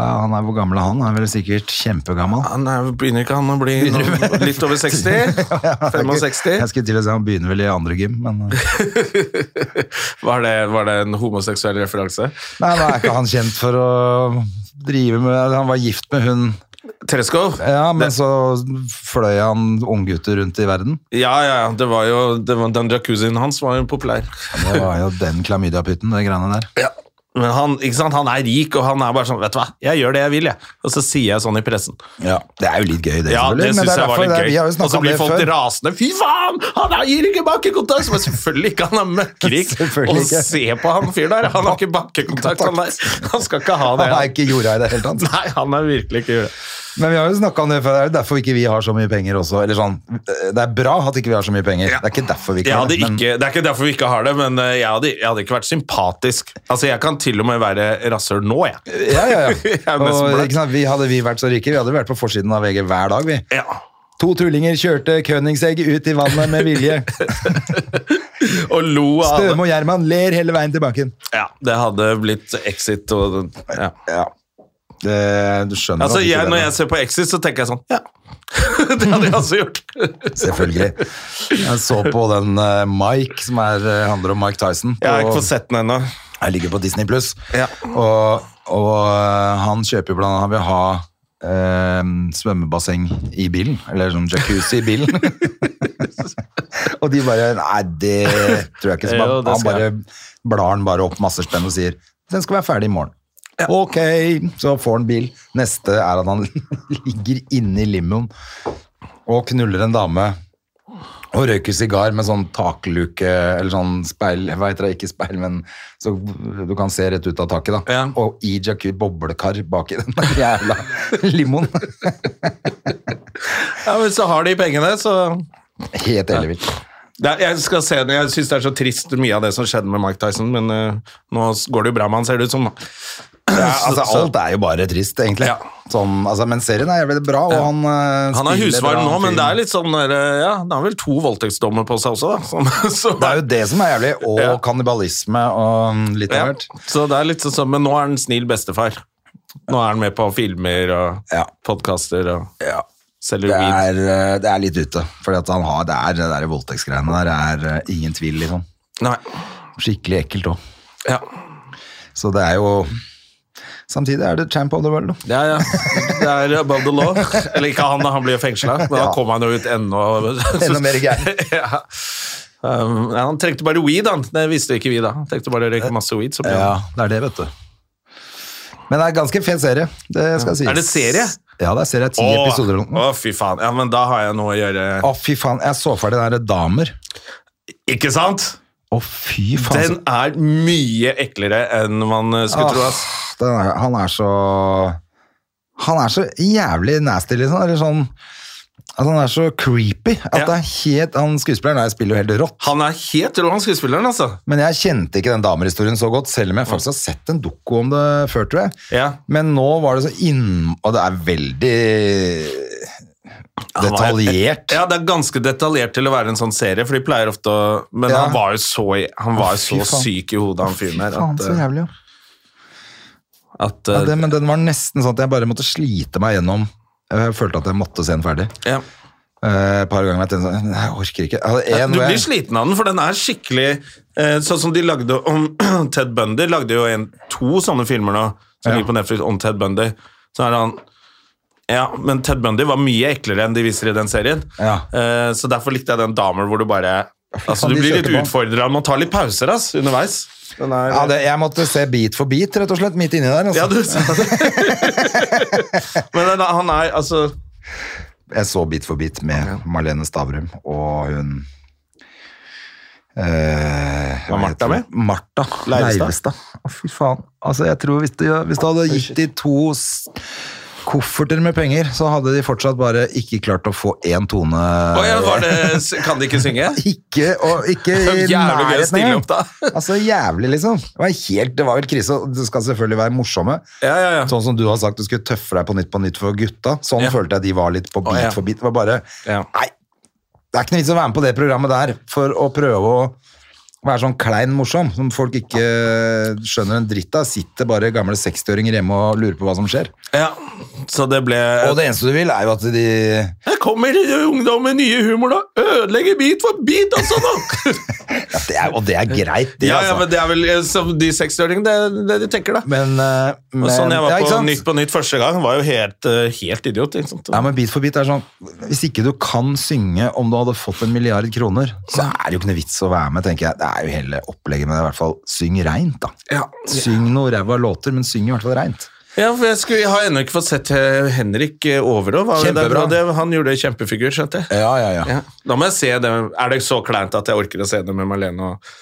[SPEAKER 2] Ja, han er hvor gammel er han? Han er vel sikkert kjempegammel.
[SPEAKER 1] Han er, begynner ikke han å bli nå- litt over 60?
[SPEAKER 2] Jeg
[SPEAKER 1] 65?
[SPEAKER 2] skulle til å si han begynner vel i andre gym, men eh,
[SPEAKER 1] Var det, var det en homoseksuell referanse?
[SPEAKER 2] Nei, men er ikke han kjent for å drive med Han var gift med hun
[SPEAKER 1] Tereskov?
[SPEAKER 2] Ja, men så fløy han unggutter rundt i verden.
[SPEAKER 1] Ja, ja, ja. Det var jo, det var, den jacuzzien hans var jo populær.
[SPEAKER 2] Det var jo den klamydiapytten, de greiene der.
[SPEAKER 1] Men han, ikke sant? han er rik, og han er bare sånn Vet du hva, jeg gjør det jeg vil, jeg. Og så sier jeg sånn i pressen.
[SPEAKER 2] Ja, Det er jo litt gøy, det,
[SPEAKER 1] Ja, det
[SPEAKER 2] selvfølgelig. men
[SPEAKER 1] syns
[SPEAKER 2] det er
[SPEAKER 1] jeg var
[SPEAKER 2] derfor
[SPEAKER 1] litt
[SPEAKER 2] det,
[SPEAKER 1] gøy.
[SPEAKER 2] vi har jo
[SPEAKER 1] Og
[SPEAKER 2] snakka
[SPEAKER 1] så
[SPEAKER 2] om det
[SPEAKER 1] blir folk
[SPEAKER 2] før.
[SPEAKER 1] rasende. Fy faen! Han er- gir ikke bakkekontakt! Men selvfølgelig ikke, han er møkkrik.
[SPEAKER 2] Selvfølgelig
[SPEAKER 1] Og
[SPEAKER 2] ikke.
[SPEAKER 1] se på han fyren der, han har ikke bakkekontakt. Han, er, han skal ikke ha det.
[SPEAKER 2] Han er ikke jorda i det hele tatt.
[SPEAKER 1] Nei, han er virkelig ikke gjort det.
[SPEAKER 2] Men vi har jo snakket om det før. Det er jo derfor ikke vi har så mye penger også. Eller sånn, det er bra at ikke vi har så mye penger. Det er ikke derfor vi ikke
[SPEAKER 1] Jeg
[SPEAKER 2] har
[SPEAKER 1] hadde
[SPEAKER 2] det. men-
[SPEAKER 1] ikke, det er ikke derfor vi ikke har det, men eh, jeg hadde, jeg hadde ikke vært sympatisk. Altså, Jeg kan til og med være rasshøl nå, jeg.
[SPEAKER 2] Ja, ja, ja.
[SPEAKER 1] Jeg er nesten
[SPEAKER 2] Og,
[SPEAKER 1] blakk.
[SPEAKER 2] ikke sant, vi, hadde vi vært så rike, vi hadde vært på forsiden av VG hver dag, vi.
[SPEAKER 1] Ja.
[SPEAKER 2] To tullinger kjørte Königsegg ut i vannet med vilje.
[SPEAKER 1] Og lo av
[SPEAKER 2] Støme og Gjerman ler hele veien til banken.
[SPEAKER 1] Ja, det hadde blitt Exit og ja.
[SPEAKER 2] Ja. Det, du skjønner
[SPEAKER 1] Altså,
[SPEAKER 2] at ikke
[SPEAKER 1] jeg,
[SPEAKER 2] det
[SPEAKER 1] Når
[SPEAKER 2] er-
[SPEAKER 1] jeg ser på Exit, så tenker jeg sånn Ja, det hadde jeg også gjort.
[SPEAKER 2] Selvfølgelig. Jeg så på den eh, Mike, som er, eh, handler om Mike Tyson.
[SPEAKER 1] Jeg har ikke
[SPEAKER 2] og-
[SPEAKER 1] fått sett den ennå.
[SPEAKER 2] Jeg ligger på Disney Pluss.
[SPEAKER 1] Ja.
[SPEAKER 2] Og, og øh, han kjøper blant annet Han vil ha øh, svømmebasseng i bilen. Eller sånn jacuzzi i bilen. og de bare Nei, det tror jeg ikke. Så
[SPEAKER 1] Jo,
[SPEAKER 2] han,
[SPEAKER 1] det
[SPEAKER 2] han
[SPEAKER 1] skal
[SPEAKER 2] bare blar den bare opp masse spenn og sier den skal være ferdig i morgen. Ok, så får han bil. Neste er at han ligger inne i limoen og knuller en dame. Og røyker sigar med sånn takluke, eller sånn speil, jeg vet det, ikke speil, men så du kan se rett ut av taket da.
[SPEAKER 1] Ja.
[SPEAKER 2] Og i jacuzzi boblekar bak i den der jævla limoen.
[SPEAKER 1] Ja, men så har de pengene, så
[SPEAKER 2] Helt ellevilt.
[SPEAKER 1] Nei, jeg skal se den. Jeg syns det er så trist mye av det som skjedde med Mike Tyson, men eh, nå s- går det jo bra med han, ser det ut som. da.
[SPEAKER 2] Ja, altså,
[SPEAKER 1] så-
[SPEAKER 2] alt er jo bare trist, egentlig.
[SPEAKER 1] Ja.
[SPEAKER 2] Sånn, altså, men serien er jævlig bra, og han øh,
[SPEAKER 1] Han har
[SPEAKER 2] spiller
[SPEAKER 1] husvarm
[SPEAKER 2] bra,
[SPEAKER 1] nå,
[SPEAKER 2] han
[SPEAKER 1] men det
[SPEAKER 2] fyren.
[SPEAKER 1] er litt sånn der, eh, Ja, han har vel to voldtektsdommer på seg også, da. Som, så,
[SPEAKER 2] Det er jo det som er jævlig, og
[SPEAKER 1] Ja.
[SPEAKER 2] kannibalisme og litt av
[SPEAKER 1] ja.
[SPEAKER 2] hvert.
[SPEAKER 1] så det er litt sånn, men nå er han snill bestefar. Nå er han med på filmer og
[SPEAKER 2] Ja.
[SPEAKER 1] podkaster og
[SPEAKER 2] Ja.
[SPEAKER 1] selger
[SPEAKER 2] Det
[SPEAKER 1] weed.
[SPEAKER 2] er, øh, det er litt ute, for det er det der voldtektsgreiene der, er øh, ingen tvil, liksom.
[SPEAKER 1] Nei.
[SPEAKER 2] Skikkelig ekkelt også.
[SPEAKER 1] Ja.
[SPEAKER 2] Så det er jo Samtidig er det champ of the world, da.
[SPEAKER 1] ja, ja. Det er above the law. Eller ikke han, da. Han blir fengsla. Men da
[SPEAKER 2] Ja.
[SPEAKER 1] kom han jo ut ennå
[SPEAKER 2] Enda mer gæren.
[SPEAKER 1] ja. Um, ja, han trengte bare weed, han. Det visste ikke vi da. Han trengte bare å røyke masse weed. Så ble han-
[SPEAKER 2] det er det, vet du. Men det er en ganske fet serie. Det skal sies.
[SPEAKER 1] Er det serie?
[SPEAKER 2] Ja, det er serie. Ti
[SPEAKER 1] Åh,
[SPEAKER 2] episoder eller noe.
[SPEAKER 1] Å, fy faen. Ja, men da har jeg noe å gjøre.
[SPEAKER 2] Å, fy faen. Jeg så ferdig den der Damer.
[SPEAKER 1] Ikke sant?
[SPEAKER 2] Å, fy faen.
[SPEAKER 1] Den er mye eklere enn man eh, skulle
[SPEAKER 2] Åh,
[SPEAKER 1] tro. ass.
[SPEAKER 2] den er, han er så Han er så jævlig nasty, liksom. Eller sånn at Han er så creepy. At
[SPEAKER 1] Ja.
[SPEAKER 2] det er helt, han Skuespilleren der spiller jo helt rått.
[SPEAKER 1] Han er helt rå, han skuespilleren, altså.
[SPEAKER 2] Men jeg kjente ikke den damerhistorien så godt, selv om jeg faktisk har sett en doko om det før, tror jeg.
[SPEAKER 1] Ja.
[SPEAKER 2] Men nå var det så inn... Og det er veldig
[SPEAKER 1] Han var-
[SPEAKER 2] detaljert.
[SPEAKER 1] Ja, det er ganske detaljert til å være en sånn serie, for de pleier ofte å Men
[SPEAKER 2] Ja.
[SPEAKER 1] han var jo så, i- han var
[SPEAKER 2] Å, fy
[SPEAKER 1] jo så
[SPEAKER 2] faen.
[SPEAKER 1] syk i hodet, han fyren her,
[SPEAKER 2] Faen,
[SPEAKER 1] at,
[SPEAKER 2] så
[SPEAKER 1] eh,
[SPEAKER 2] jævlig, ja.
[SPEAKER 1] at
[SPEAKER 2] ja
[SPEAKER 1] eh,
[SPEAKER 2] det, men den var nesten sånn at jeg bare måtte slite meg gjennom. Jeg følte at jeg måtte se den ferdig.
[SPEAKER 1] ja.
[SPEAKER 2] Eh, Et par ganger jeg tenkte sånn, nei, jeg orker ikke. Jeg hadde en
[SPEAKER 1] Du
[SPEAKER 2] hvor
[SPEAKER 1] blir
[SPEAKER 2] jeg-
[SPEAKER 1] sliten av den, for den er skikkelig eh, Sånn som de lagde om Ted Bundy Lagde jo en, to sånne filmer nå Som
[SPEAKER 2] Ja.
[SPEAKER 1] ligger på Netflix om Ted Bundy Så er han Ja, men Ted Bundy var mye eklere enn de viser i den serien
[SPEAKER 2] Ja.
[SPEAKER 1] eh, Så derfor likte jeg den damer hvor du bare Altså
[SPEAKER 2] faen, de
[SPEAKER 1] du blir
[SPEAKER 2] kjørte
[SPEAKER 1] litt
[SPEAKER 2] på.
[SPEAKER 1] utfordret Man tar litt pauser ass, underveis Den er-
[SPEAKER 2] ja, det, jeg måtte se bit for bit, rett og slett, midt inni der. Altså.
[SPEAKER 1] Ja, du sa det Men den, er- han er altså
[SPEAKER 2] Jeg så Bit for bit med Marlene Stavrum og hun eh, hva
[SPEAKER 1] Var Martha
[SPEAKER 2] heter hun? Martha
[SPEAKER 1] Leivestad?
[SPEAKER 2] Leivestad. Å, fy faen. Altså, jeg tror hvis du, hvis du hadde gitt de to s- kofferter med penger, så hadde de fortsatt bare ikke klart å få én tone
[SPEAKER 1] Å ja, var det, kan de ikke synge?
[SPEAKER 2] Ikke, og ikke i
[SPEAKER 1] Jævlig gøy å
[SPEAKER 2] nærheten
[SPEAKER 1] stille
[SPEAKER 2] engang.
[SPEAKER 1] opp, da.
[SPEAKER 2] altså, jævlig, liksom. Det var, helt, det var helt krise. og Det skal selvfølgelig være morsomme.
[SPEAKER 1] Ja, ja, ja.
[SPEAKER 2] Sånn som du har sagt, du skulle tøffe deg på nytt på nytt for gutta. Sånn
[SPEAKER 1] Ja.
[SPEAKER 2] følte jeg de var litt på bit
[SPEAKER 1] ja.
[SPEAKER 2] for bit. Det var bare
[SPEAKER 1] Ja.
[SPEAKER 2] Nei, det er ikke noe vits å være med på det programmet der for å prøve å være sånn klein morsom, som folk ikke skjønner en dritt av. Sitter bare gamle 60-åringer hjemme og lurer på hva som skjer.
[SPEAKER 1] Ja, så det ble
[SPEAKER 2] Og det eneste du vil, er jo at de
[SPEAKER 1] Her kommer ungdom med nye humor, da! Ødelegger bit for bit, altså! da.
[SPEAKER 2] ja, det er, Og det er greit, det,
[SPEAKER 1] ja, ja,
[SPEAKER 2] altså.
[SPEAKER 1] men det er vel eh, som de 60-åringene det, det de tenker, da.
[SPEAKER 2] Men, eh,
[SPEAKER 1] Og
[SPEAKER 2] men-
[SPEAKER 1] sånn jeg var
[SPEAKER 2] ja, ikke
[SPEAKER 1] på
[SPEAKER 2] sant?
[SPEAKER 1] Nytt på Nytt første gang, var jo helt, eh, helt idiot. Ikke sant?
[SPEAKER 2] Ja, men bit for bit er sånn Hvis ikke du kan synge om du hadde fått en milliard kroner, så er det jo ikke noe vits å være med, tenker jeg. Det er jo hele opplegget med det, i hvert fall. Syng reint, da. Syng noe ræva låter, men syng i hvert fall reint.
[SPEAKER 1] Ja, for jeg, skulle, jeg har ennå ikke fått sett eh, Henrik eh, Overå. Var det der?
[SPEAKER 2] Kjempebra.
[SPEAKER 1] Og Det, han gjorde kjempefigur, skjønte jeg.
[SPEAKER 2] Ja, ja, ja.
[SPEAKER 1] Da må jeg se det. Er det så kleint at jeg orker å se det med Marlene? Og...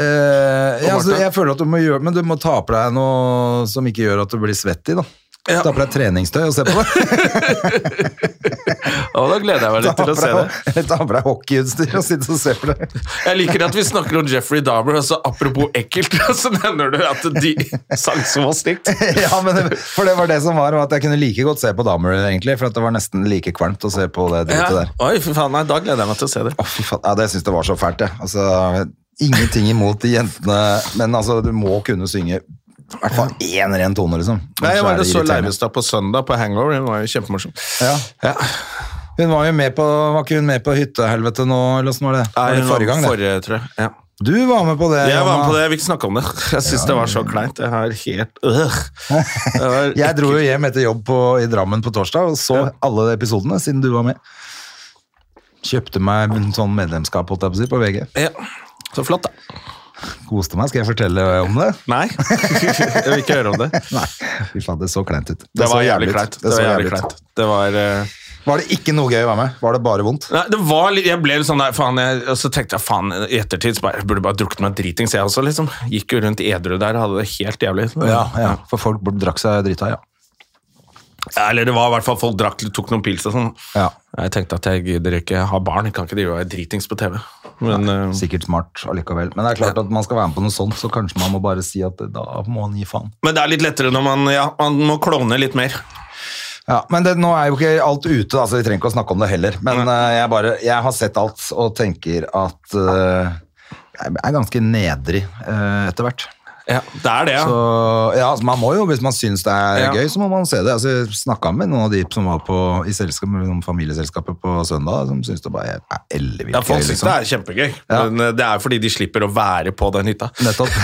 [SPEAKER 2] Eh, ja, altså,
[SPEAKER 1] Martha?
[SPEAKER 2] jeg føler at du må gjøre Men du må ta på deg noe som ikke gjør at du blir svett i, da.
[SPEAKER 1] Ja.
[SPEAKER 2] Ta på deg treningstøy og se på det.
[SPEAKER 1] Å, da gleder jeg
[SPEAKER 2] Ta
[SPEAKER 1] meg litt
[SPEAKER 2] på
[SPEAKER 1] til å se det.
[SPEAKER 2] deg, ta på deg hockeyutstyr og sitte og se på det.
[SPEAKER 1] Jeg liker at vi snakker om Jeffrey Dahmer, altså apropos ekkelt, så nevner du at de sang som var stygt.
[SPEAKER 2] ja, men det, for det var det som var, var at jeg kunne like godt se på damer, egentlig. For at det var nesten like kvalmt å se på det dritet
[SPEAKER 1] Ja.
[SPEAKER 2] der.
[SPEAKER 1] Oi, for faen, nei, da gleder jeg meg til å se det.
[SPEAKER 2] Å, fy faen. Ja, det syns jeg var så fælt, jeg. Altså, ingenting imot de jentene, men altså, du må kunne synge i hvert fall én ren tone, liksom.
[SPEAKER 1] Nei,
[SPEAKER 2] Så
[SPEAKER 1] jeg
[SPEAKER 2] er
[SPEAKER 1] var
[SPEAKER 2] det
[SPEAKER 1] det så
[SPEAKER 2] irriterende.
[SPEAKER 1] Leivestad på søndag på Hangover, hun var jo kjempemorsom.
[SPEAKER 2] Ja. Hun var jo med på Var ikke hun med på hyttehelvete nå, eller åssen var det? var det
[SPEAKER 1] hun var
[SPEAKER 2] forrige gang, det?
[SPEAKER 1] Forrige, Eh, tror jeg. Ja.
[SPEAKER 2] Du var med på det.
[SPEAKER 1] Jeg var
[SPEAKER 2] Jonna.
[SPEAKER 1] med på det, jeg vil ikke snakke om det. Jeg syns det var så kleint. Jeg har helt øh. Det var
[SPEAKER 2] Jeg dro jo hjem etter jobb på, i Drammen på torsdag og så alle episodene siden du var med. Kjøpte meg en sånn medlemskap holdt jeg på, å si, på VG.
[SPEAKER 1] ja. Så flott, da.
[SPEAKER 2] Koste meg. Skal jeg fortelle om det?
[SPEAKER 1] Nei, jeg vil ikke høre om det.
[SPEAKER 2] Nei. Fy faen, det så kleint ut.
[SPEAKER 1] Det
[SPEAKER 2] så
[SPEAKER 1] var jævlig
[SPEAKER 2] ut.
[SPEAKER 1] kleint. Det var
[SPEAKER 2] så
[SPEAKER 1] jævlig
[SPEAKER 2] ut.
[SPEAKER 1] kleint. Det var... eh,
[SPEAKER 2] Var det ikke noe gøy å være med? Var det bare vondt?
[SPEAKER 1] Nei, det var litt, jeg ble litt sånn der, faen, jeg, og så tenkte jeg, faen, i ettertid, så bare, jeg burde bare drukket meg dritings, jeg også, liksom. Gikk jo rundt edru der, hadde det helt jævlig.
[SPEAKER 2] For folk drakk seg drita, ja.
[SPEAKER 1] Ja, Eller det var i hvert fall, folk drakk, tok noen pils og sånn.
[SPEAKER 2] Ja.
[SPEAKER 1] Jeg tenkte at jeg gidder ikke ha barn, jeg kan ikke drive og være dritings på TV. Men, eh,
[SPEAKER 2] Sikkert smart allikevel. Men det er klart at man skal være med på noe sånt, så kanskje man må bare si at da må man gi faen.
[SPEAKER 1] men det er litt lettere når man, ja, man må klone litt mer.
[SPEAKER 2] Ja, Men det, nå er jo ikke alt ute, da, så vi trenger ikke å snakke om det heller. Men eh, jeg, bare, jeg har sett alt og tenker at eh, jeg er ganske nedrig eh, etter hvert.
[SPEAKER 1] Det er det, ja.
[SPEAKER 2] Så ja, altså, man må jo, Hvis man syns det er
[SPEAKER 1] Ja.
[SPEAKER 2] gøy, så må man se det. Altså, jeg snakka med noen av de som var på, i selskap, med noen familieselskapet på søndag, som syns det bare er ellevilt
[SPEAKER 1] Ja, folk
[SPEAKER 2] gøy. liksom.
[SPEAKER 1] synes det er kjempegøy,
[SPEAKER 2] Ja.
[SPEAKER 1] men eh, det er fordi de slipper å være på den hytta.
[SPEAKER 2] Nettopp.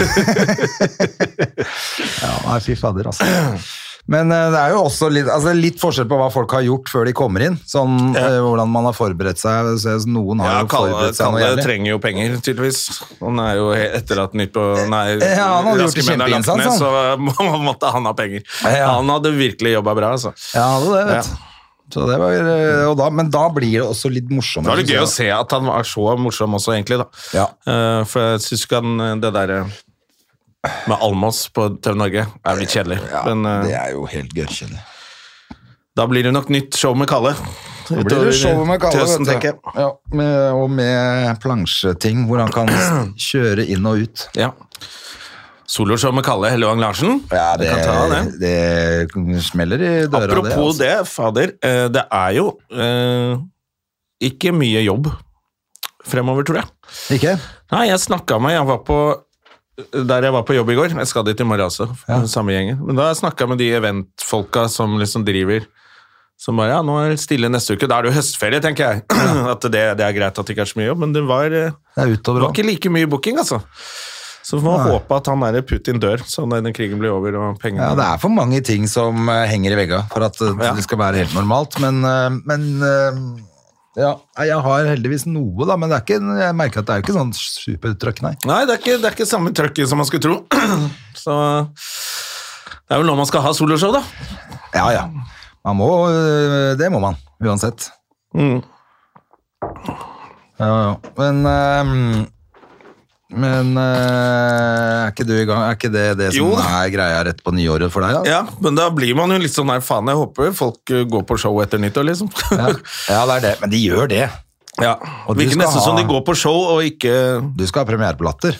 [SPEAKER 2] ja, nei, fy fader, altså. Men eh, det er jo også litt, altså, litt forskjell på hva folk har gjort før de kommer inn. Sånn, eh, hvordan man har forberedt seg. Så Noen har
[SPEAKER 1] Ja,
[SPEAKER 2] jo
[SPEAKER 1] Kalle,
[SPEAKER 2] forberedt seg noe
[SPEAKER 1] Kalle
[SPEAKER 2] jævlig.
[SPEAKER 1] trenger jo penger, tydeligvis. Han er jo he- etter at Nytt på Nei,
[SPEAKER 2] Ja, han hadde gjort en
[SPEAKER 1] Raske menn er lagt ned,
[SPEAKER 2] kjempeinnsats,
[SPEAKER 1] så må- måtte han ha penger.
[SPEAKER 2] Ja.
[SPEAKER 1] Han hadde virkelig jobba bra, altså.
[SPEAKER 2] Ja, det, er det vet du. Så det var, eh, og da, men da blir det også litt
[SPEAKER 1] Da
[SPEAKER 2] morsommere.
[SPEAKER 1] var det gøy å
[SPEAKER 2] synes jeg.
[SPEAKER 1] se at han var så morsom også, egentlig, da.
[SPEAKER 2] Ja.
[SPEAKER 1] Eh, for jeg syns ikke han eh, det derre med Almås på TV Norge er litt kjedelig. Men eh,
[SPEAKER 2] Det er jo helt gørrkjedelig.
[SPEAKER 1] da blir det nok nytt show med Kalle.
[SPEAKER 2] Da blir det show med Kalle,
[SPEAKER 1] Tøsen,
[SPEAKER 2] vet
[SPEAKER 1] tenker
[SPEAKER 2] jeg.
[SPEAKER 1] jeg.
[SPEAKER 2] Ja, med, og med plansjeting, hvor han kan kjøre inn og ut.
[SPEAKER 1] Ja. Soloshow med Kalle Hellevang Larsen.
[SPEAKER 2] Ja,
[SPEAKER 1] Vi
[SPEAKER 2] det,
[SPEAKER 1] kan ta det.
[SPEAKER 2] det smeller i døra. det,
[SPEAKER 1] Apropos
[SPEAKER 2] altså.
[SPEAKER 1] det, fader. eh, Det er jo eh, ikke mye jobb fremover, tror jeg.
[SPEAKER 2] altså. Ikke?
[SPEAKER 1] Nei, jeg snakka med Jeg var på der jeg var på jobb i går. Jeg skal dit i morgen også. samme gjengen. Men da har jeg snakka med de eventfolka som liksom driver Som bare Ja, nå er det stille neste uke. Da er det jo høstferie, tenker jeg. At det, det er greit at det ikke er så mye jobb, men det var, eh,
[SPEAKER 2] Det er
[SPEAKER 1] det
[SPEAKER 2] utover
[SPEAKER 1] var
[SPEAKER 2] også.
[SPEAKER 1] ikke like mye booking, altså. Så vi må
[SPEAKER 2] Nei.
[SPEAKER 1] håpe at han der Putin dør, så den krigen blir over og pengene
[SPEAKER 2] Ja, det er for mange ting som eh, henger i vegga for at eh,
[SPEAKER 1] Ja.
[SPEAKER 2] det skal være helt normalt, men, eh, men eh, ja, nei, jeg har heldigvis noe da, men det er ikke, jeg merker at det er jo ikke sånn supertrøkk, nei.
[SPEAKER 1] Nei, det er ikke, det er ikke samme trøkket som man skulle tro. Så det er vel nå man skal ha soloshow, da.
[SPEAKER 2] Ja, ja. Man må, eh, det må man, uansett.
[SPEAKER 1] Mm.
[SPEAKER 2] Ja, ja. Men, eh, Men eh, er ikke du i gang? Er ikke det det som
[SPEAKER 1] Jo da.
[SPEAKER 2] er greia rett på nyåret for deg? Da?
[SPEAKER 1] Ja, men da blir man jo litt sånn Nei, faen, jeg håper folk uh, går på show etter nyttår, liksom. Ja.
[SPEAKER 2] Ja, det er det. Men de gjør det. Og
[SPEAKER 1] Det
[SPEAKER 2] du
[SPEAKER 1] virker
[SPEAKER 2] skal
[SPEAKER 1] nesten
[SPEAKER 2] ha-
[SPEAKER 1] som de går på show og ikke
[SPEAKER 2] Du skal ha premiere på Latter.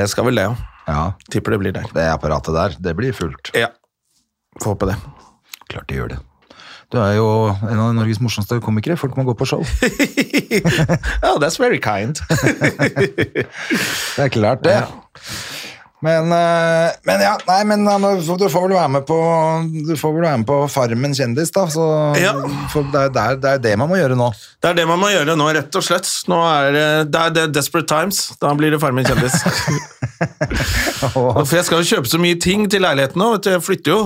[SPEAKER 1] Jeg skal vel det, ja.
[SPEAKER 2] Ja,
[SPEAKER 1] Tipper det blir der.
[SPEAKER 2] det apparatet der, det blir fullt.
[SPEAKER 1] Ja. Får håpe det.
[SPEAKER 2] Klart de gjør det. Du er jo en av Norges morsomste komikere. Folk må gå på show. Det
[SPEAKER 1] Oh, that's very kind.
[SPEAKER 2] er klart, det. Men, eh, men ja, nei, men ja, men du får vel være med på Du får vel være med på Farmen kjendis, da. Så
[SPEAKER 1] Ja.
[SPEAKER 2] for det, er, det, er, det er det man må gjøre nå.
[SPEAKER 1] Det er det man må gjøre nå, rett og slett. Nå er det, det, er det desperate times. Da blir det Farmen kjendis. For jeg skal jo kjøpe så mye ting til leiligheten nå. Vet du, jeg flytter jo.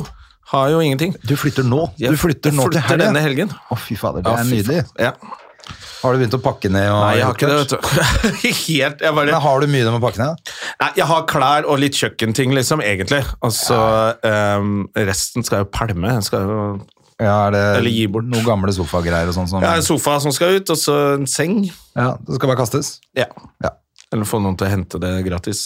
[SPEAKER 1] Har jo ingenting.
[SPEAKER 2] Du flytter nå.
[SPEAKER 1] Jeg
[SPEAKER 2] du flytter nå
[SPEAKER 1] flytter
[SPEAKER 2] til helgen.
[SPEAKER 1] denne helgen.
[SPEAKER 2] Å, fy fader, det
[SPEAKER 1] Ja,
[SPEAKER 2] er
[SPEAKER 1] fy
[SPEAKER 2] nydelig.
[SPEAKER 1] faen. Ja.
[SPEAKER 2] Har du begynt å pakke ned? Og
[SPEAKER 1] Nei, jeg har ikke det, vet du. Helt, jeg bare...
[SPEAKER 2] Men har du mye du må pakke ned?
[SPEAKER 1] Nei, jeg har klær og litt kjøkkenting, liksom, egentlig. Og så ehm, resten skal jo pælme. Jeg skal jo
[SPEAKER 2] Mm. Ja, er det
[SPEAKER 1] Eller gi bort.
[SPEAKER 2] noen gamle sofagreier og sånn som
[SPEAKER 1] Jeg har en sofa som skal ut, og så en seng.
[SPEAKER 2] Ja, det skal bare kastes?
[SPEAKER 1] Ja.
[SPEAKER 2] Ja.
[SPEAKER 1] Eller få noen til å hente det gratis.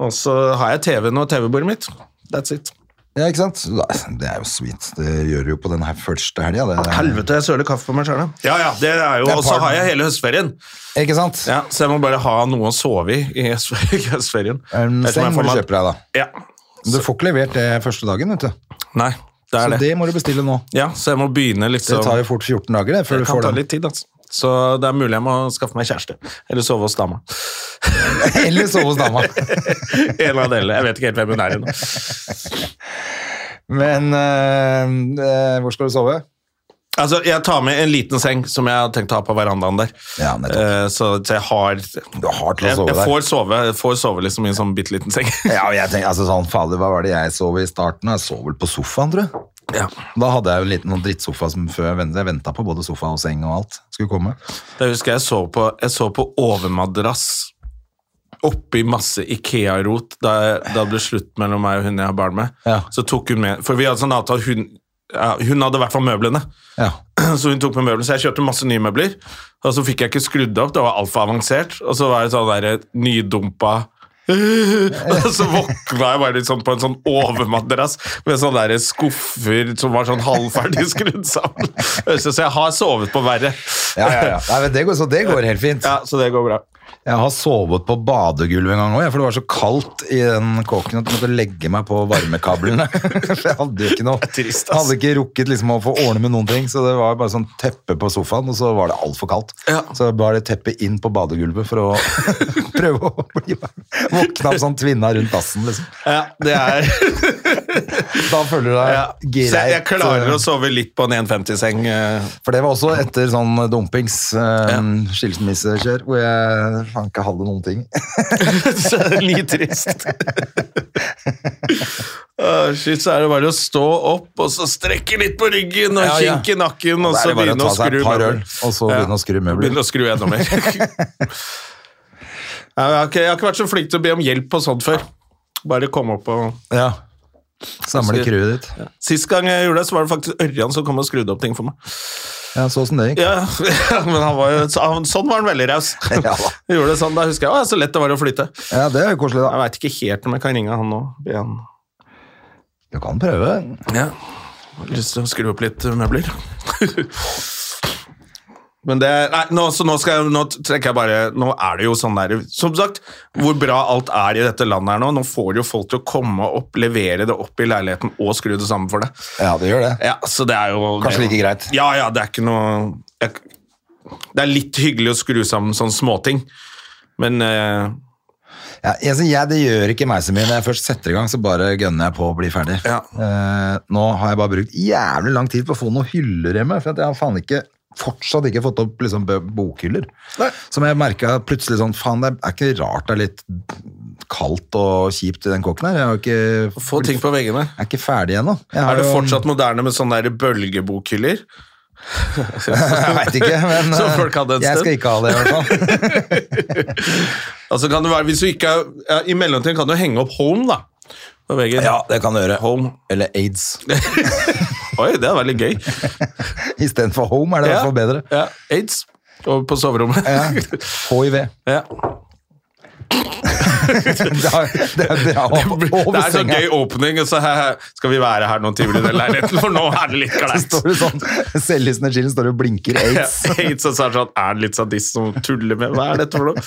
[SPEAKER 1] Og så har jeg TV-en og TV-bordet mitt. That's it.
[SPEAKER 2] Ja, ikke sant? Nei, Det er jo sweet. Det gjør du jo på den her første helga. Det,
[SPEAKER 1] Helvete, jeg søler kaffe på meg sjøl, ja. Ja, det er jo
[SPEAKER 2] Det er
[SPEAKER 1] Og så
[SPEAKER 2] pardon.
[SPEAKER 1] har jeg hele høstferien.
[SPEAKER 2] Ikke sant?
[SPEAKER 1] Ja, så jeg må bare ha noe å sove i i høstferien. i høstferien.
[SPEAKER 2] En
[SPEAKER 1] Vet du hva
[SPEAKER 2] seng
[SPEAKER 1] jeg
[SPEAKER 2] må
[SPEAKER 1] får
[SPEAKER 2] du
[SPEAKER 1] meg-
[SPEAKER 2] kjøpe deg, da.
[SPEAKER 1] Ja.
[SPEAKER 2] Men Du får ikke levert det første dagen, vet du.
[SPEAKER 1] Nei, det
[SPEAKER 2] Så
[SPEAKER 1] er det.
[SPEAKER 2] det må du bestille nå.
[SPEAKER 1] Ja, så jeg må begynne
[SPEAKER 2] Det
[SPEAKER 1] liksom
[SPEAKER 2] tar jo fort 14 dager det, før
[SPEAKER 1] Det
[SPEAKER 2] du
[SPEAKER 1] kan
[SPEAKER 2] får
[SPEAKER 1] ta
[SPEAKER 2] den.
[SPEAKER 1] litt tid, altså. Så det er mulig jeg må skaffe meg kjæreste. Eller sove hos dama.
[SPEAKER 2] Eller sove hos dama.
[SPEAKER 1] en av delene. Jeg vet ikke helt hvem hun er ennå.
[SPEAKER 2] Men eh, eh, hvor skal du sove?
[SPEAKER 1] Altså, jeg tar med en liten seng som jeg har tenkt å ha på verandaen der.
[SPEAKER 2] Ja, nettopp.
[SPEAKER 1] Eh, så, så jeg har
[SPEAKER 2] Du har til å
[SPEAKER 1] jeg,
[SPEAKER 2] sove
[SPEAKER 1] jeg
[SPEAKER 2] der.
[SPEAKER 1] får sove, jeg får sove liksom i en sånn bitte liten seng.
[SPEAKER 2] Ja, og jeg tenker, altså sånn, fader, Hva var det jeg sov i starten? Jeg sov vel på sofaen, tror jeg.
[SPEAKER 1] ja.
[SPEAKER 2] Da hadde jeg jo en liten sånn drittsofa som før jeg ventet- jeg venta på både sofa og seng og alt skulle komme.
[SPEAKER 1] Da husker jeg jeg sov på, jeg sov på overmadrass oppi masse Ikea-rot da, jeg- da det ble slutt mellom meg og hun jeg har barn med.
[SPEAKER 2] Ja.
[SPEAKER 1] Så tok hun med For vi hadde sånn avtale hun, ja, hun hadde i hvert fall møblene.
[SPEAKER 2] Ja.
[SPEAKER 1] Så hun tok med møbler, så jeg kjøpte masse nye møbler. Og så fikk jeg ikke skrudd opp, det var altfor avansert. Og så var jeg sånn der nydumpa og så våkna jeg bare litt sånn på en sånn overmadrass med sånne der skuffer som var sånn halvferdig skrudd sammen. Så jeg har sovet på verre.
[SPEAKER 2] Ja, ja, ja. Nei, men det går, så det går helt fint.
[SPEAKER 1] Ja, Så det går bra.
[SPEAKER 2] Jeg har sovet på badegulvet en gang òg, for det var så kaldt i den kåken at jeg måtte legge meg på varmekablene. For jeg hadde jo ikke noe
[SPEAKER 1] Trist, ass.
[SPEAKER 2] Hadde ikke rukket liksom å få ordne med noen ting, så det var bare sånn teppe på sofaen, og så var det altfor kaldt.
[SPEAKER 1] Ja.
[SPEAKER 2] Så bare teppet inn på badegulvet for å prøve å bli varm. Våkna opp sånn tvinna rundt dassen, liksom.
[SPEAKER 1] Ja, det er
[SPEAKER 2] Da føler du deg
[SPEAKER 1] ja.
[SPEAKER 2] greit.
[SPEAKER 1] Så jeg klarer å sove litt på en eh, 1,50-seng.
[SPEAKER 2] For det var også etter sånn dumpings, eh, skilsmissekjør, hvor jeg faen ikke hadde noen ting.
[SPEAKER 1] Så det er litt trist. Åh, Ah, shit, så er det bare å stå opp og så strekke litt på ryggen og
[SPEAKER 2] Ja, ja.
[SPEAKER 1] kinke nakken, og
[SPEAKER 2] Da er
[SPEAKER 1] så
[SPEAKER 2] det bare å
[SPEAKER 1] begynne å
[SPEAKER 2] ta seg
[SPEAKER 1] skru
[SPEAKER 2] et par øl,
[SPEAKER 1] møbler.
[SPEAKER 2] og så begynne å skru møbler.
[SPEAKER 1] Begynne å skru enda mer. Ja, jeg, har ikke, jeg har ikke vært så flink til å be om hjelp på sånt før. Bare komme opp og
[SPEAKER 2] Ja. Samle
[SPEAKER 1] Skru-
[SPEAKER 2] crewet ditt.
[SPEAKER 1] Sist gang jeg gjorde det, så var det faktisk Ørjan som kom og skrudde opp ting for meg.
[SPEAKER 2] Ja, så som det gikk.
[SPEAKER 1] Ja, men han var jo, så- han, Sånn var han veldig raus.
[SPEAKER 2] Ja da.
[SPEAKER 1] Gjorde det sånn, Da husker jeg å, så lett det var å flytte.
[SPEAKER 2] Ja, det er jo koselig,
[SPEAKER 1] Jeg
[SPEAKER 2] da.
[SPEAKER 1] veit ikke helt om jeg kan ringe han nå. Be han
[SPEAKER 2] Du kan prøve.
[SPEAKER 1] Ja. Har Lyst til å skru opp litt møbler. Men det Nei, nå, så nå, skal jeg, nå trekker jeg bare Nå er det jo sånn der Som sagt, hvor bra alt er i dette landet her nå. Nå får jo folk til å komme opp, levere det opp i leiligheten og skru det sammen for deg.
[SPEAKER 2] Ja, det gjør det.
[SPEAKER 1] Ja, så det er jo
[SPEAKER 2] Kanskje
[SPEAKER 1] det-
[SPEAKER 2] like greit.
[SPEAKER 1] Ja, ja, det er ikke noe jeg, Det er litt hyggelig å skru sammen sånne småting, men eh,
[SPEAKER 2] Ja, jeg, så jeg, det gjør ikke meg så mye. Når jeg først setter i gang, så bare gønner jeg på å bli ferdig.
[SPEAKER 1] Ja.
[SPEAKER 2] Eh, nå har jeg bare brukt jævlig lang tid på å få noen hyller hjemme, for at jeg har faen ikke fortsatt ikke fått opp liksom, bø- bokhyller.
[SPEAKER 1] Nei.
[SPEAKER 2] Som jeg merka plutselig sånn Faen, det er ikke rart det er litt kaldt og kjipt i den kåken her. Jeg har ikke
[SPEAKER 1] få ting på veggene.
[SPEAKER 2] Jeg er ikke ferdig ennå. Jeg har
[SPEAKER 1] Er det
[SPEAKER 2] jo-
[SPEAKER 1] fortsatt moderne med sånne der bølgebokhyller?
[SPEAKER 2] Jeg veit ikke, men
[SPEAKER 1] Som
[SPEAKER 2] eh,
[SPEAKER 1] folk hadde en
[SPEAKER 2] jeg
[SPEAKER 1] stund.
[SPEAKER 2] skal ikke ha det, i hvert fall.
[SPEAKER 1] Altså kan det være, hvis du ikke er, ja, I mellomtiden kan du henge opp Home, da. På veggen.
[SPEAKER 2] det kan du gjøre.
[SPEAKER 1] Home.
[SPEAKER 2] Eller aids.
[SPEAKER 1] Oi, det er veldig gøy.
[SPEAKER 2] Istedenfor home er det i hvert fall bedre.
[SPEAKER 1] Ja, Aids. Over på soverommet.
[SPEAKER 2] Ja. HIV.
[SPEAKER 1] Ja.
[SPEAKER 2] Det er, det er bra
[SPEAKER 1] Det
[SPEAKER 2] over
[SPEAKER 1] er så
[SPEAKER 2] senga.
[SPEAKER 1] gøy opening, og så he- he, skal vi være her noen timer i den leiligheten, for nå er det litt
[SPEAKER 2] Så
[SPEAKER 1] kleint.
[SPEAKER 2] står det sånn, Selvlysende chillen står og blinker
[SPEAKER 1] Ja,
[SPEAKER 2] aids.
[SPEAKER 1] Aids, og så er det sånn, er han litt sadist som tuller med Hva er dette for noe?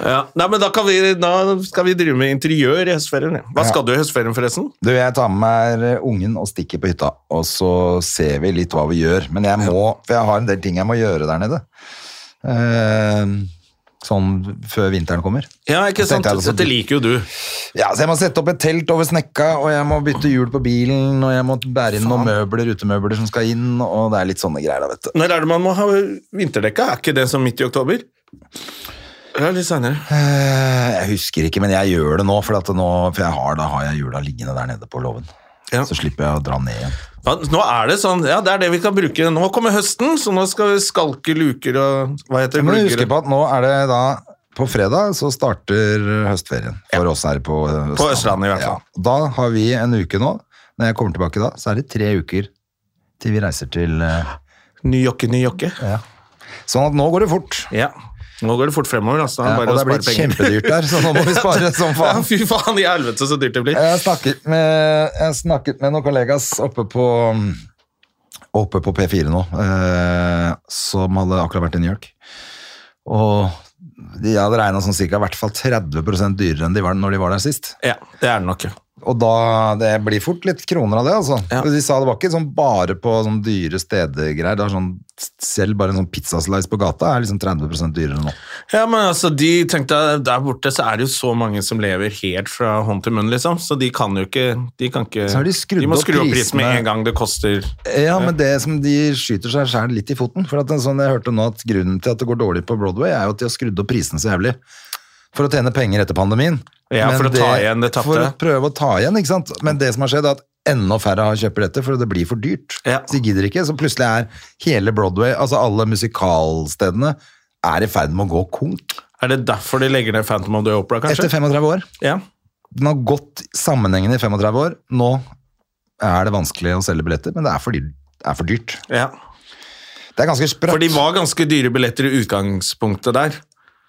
[SPEAKER 1] Ja. Nei, men da, kan vi, da skal vi drive med interiør i høstferien. ja. Hva skal du i høstferien, forresten?
[SPEAKER 2] Du, jeg tar med meg ungen og stikker på hytta, og så ser vi litt hva vi gjør. Men jeg må, for jeg har en del ting jeg må gjøre der nede. Eh, sånn før vinteren kommer.
[SPEAKER 1] Ja, ikke sant?
[SPEAKER 2] Tenkte jeg det så
[SPEAKER 1] Dette
[SPEAKER 2] dyrt.
[SPEAKER 1] liker jo du.
[SPEAKER 2] Ja, så jeg må sette opp et telt over snekka, og jeg må bytte hjul på bilen, og jeg må bære inn noen møbler, utemøbler som skal inn, og det er litt sånne greier da, vet du.
[SPEAKER 1] Når er det man må ha vinterdekka? Er ikke det som midt i oktober? Ja, litt senere.
[SPEAKER 2] Eh, Jeg husker ikke, men jeg gjør det nå, for, at nå, for jeg har, da har jeg hjula liggende der nede på låven.
[SPEAKER 1] Ja.
[SPEAKER 2] Så slipper jeg å dra ned igjen.
[SPEAKER 1] Ja, nå er det sånn, ja, det er det vi kan bruke. Nå kommer høsten, så nå skal vi skalke luker og hva heter det?
[SPEAKER 2] Men
[SPEAKER 1] Glugger
[SPEAKER 2] husk
[SPEAKER 1] og-
[SPEAKER 2] på at nå er det da på fredag så starter høstferien for oss her på eh, Østlandet.
[SPEAKER 1] På Østlandet i hvert fall.
[SPEAKER 2] Ja. Da har vi en uke nå. Når jeg kommer tilbake da, så er det tre uker til vi reiser til eh,
[SPEAKER 1] Ny jokke, ny jokke.
[SPEAKER 2] ja. Sånn at nå går det fort.
[SPEAKER 1] Ja. Nå går det fort fremover, altså.
[SPEAKER 2] Ja,
[SPEAKER 1] Bare
[SPEAKER 2] og det
[SPEAKER 1] å
[SPEAKER 2] er blitt
[SPEAKER 1] spare penger.
[SPEAKER 2] kjempedyrt der, så nå må vi spare som
[SPEAKER 1] Ja,
[SPEAKER 2] faen.
[SPEAKER 1] fy faen, i helvete så dyrt det blir.
[SPEAKER 2] Jeg snakket med, jeg snakket med noen kollegas oppe på, oppe på P4 nå, eh, som hadde akkurat vært i New York. Og de hadde regna som cirka i hvert fall 30 dyrere enn de var når de var der sist.
[SPEAKER 1] Ja, det er det nok. ja.
[SPEAKER 2] Og da, det blir fort litt kroner av det, altså.
[SPEAKER 1] Ja.
[SPEAKER 2] De sa det var ikke sånn bare på sånn dyre steder-greier. Det er sånn, selv bare en sånn pizzaslice på gata er liksom 30 dyrere nå.
[SPEAKER 1] Ja, men altså, de tenkte at Der borte så er det jo så mange som lever helt fra hånd til munn, liksom. Så de kan jo ikke De, kan ikke,
[SPEAKER 2] Så har de skrudd
[SPEAKER 1] må
[SPEAKER 2] opp
[SPEAKER 1] skru opp prisen med
[SPEAKER 2] prisene.
[SPEAKER 1] en gang det koster
[SPEAKER 2] Ja, men det som de skyter seg sjæl litt i foten. For at det er sånn jeg hørte nå at grunnen til at det går dårlig på Broadway, er jo at de har skrudd opp prisene så jævlig. For å tjene penger etter pandemien.
[SPEAKER 1] Ja,
[SPEAKER 2] Men
[SPEAKER 1] for å ta igjen det tapte.
[SPEAKER 2] For å prøve å ta igjen, ikke sant. Men det som har skjedd, er at enda færre har kjøper dette, for det blir for dyrt.
[SPEAKER 1] Ja.
[SPEAKER 2] Så de gidder ikke. Så plutselig er hele Broadway, altså alle musikalstedene, er i ferd med å gå konk.
[SPEAKER 1] Er det derfor de legger ned Phantom of the Opera, kanskje?
[SPEAKER 2] Etter 35 år.
[SPEAKER 1] Ja.
[SPEAKER 2] Den har gått sammenhengende i 35 år. Nå er det vanskelig å selge billetter, men det er for dyrt. Det er, for dyrt.
[SPEAKER 1] ja.
[SPEAKER 2] Det er ganske sprøtt.
[SPEAKER 1] For de var ganske dyre billetter i utgangspunktet der.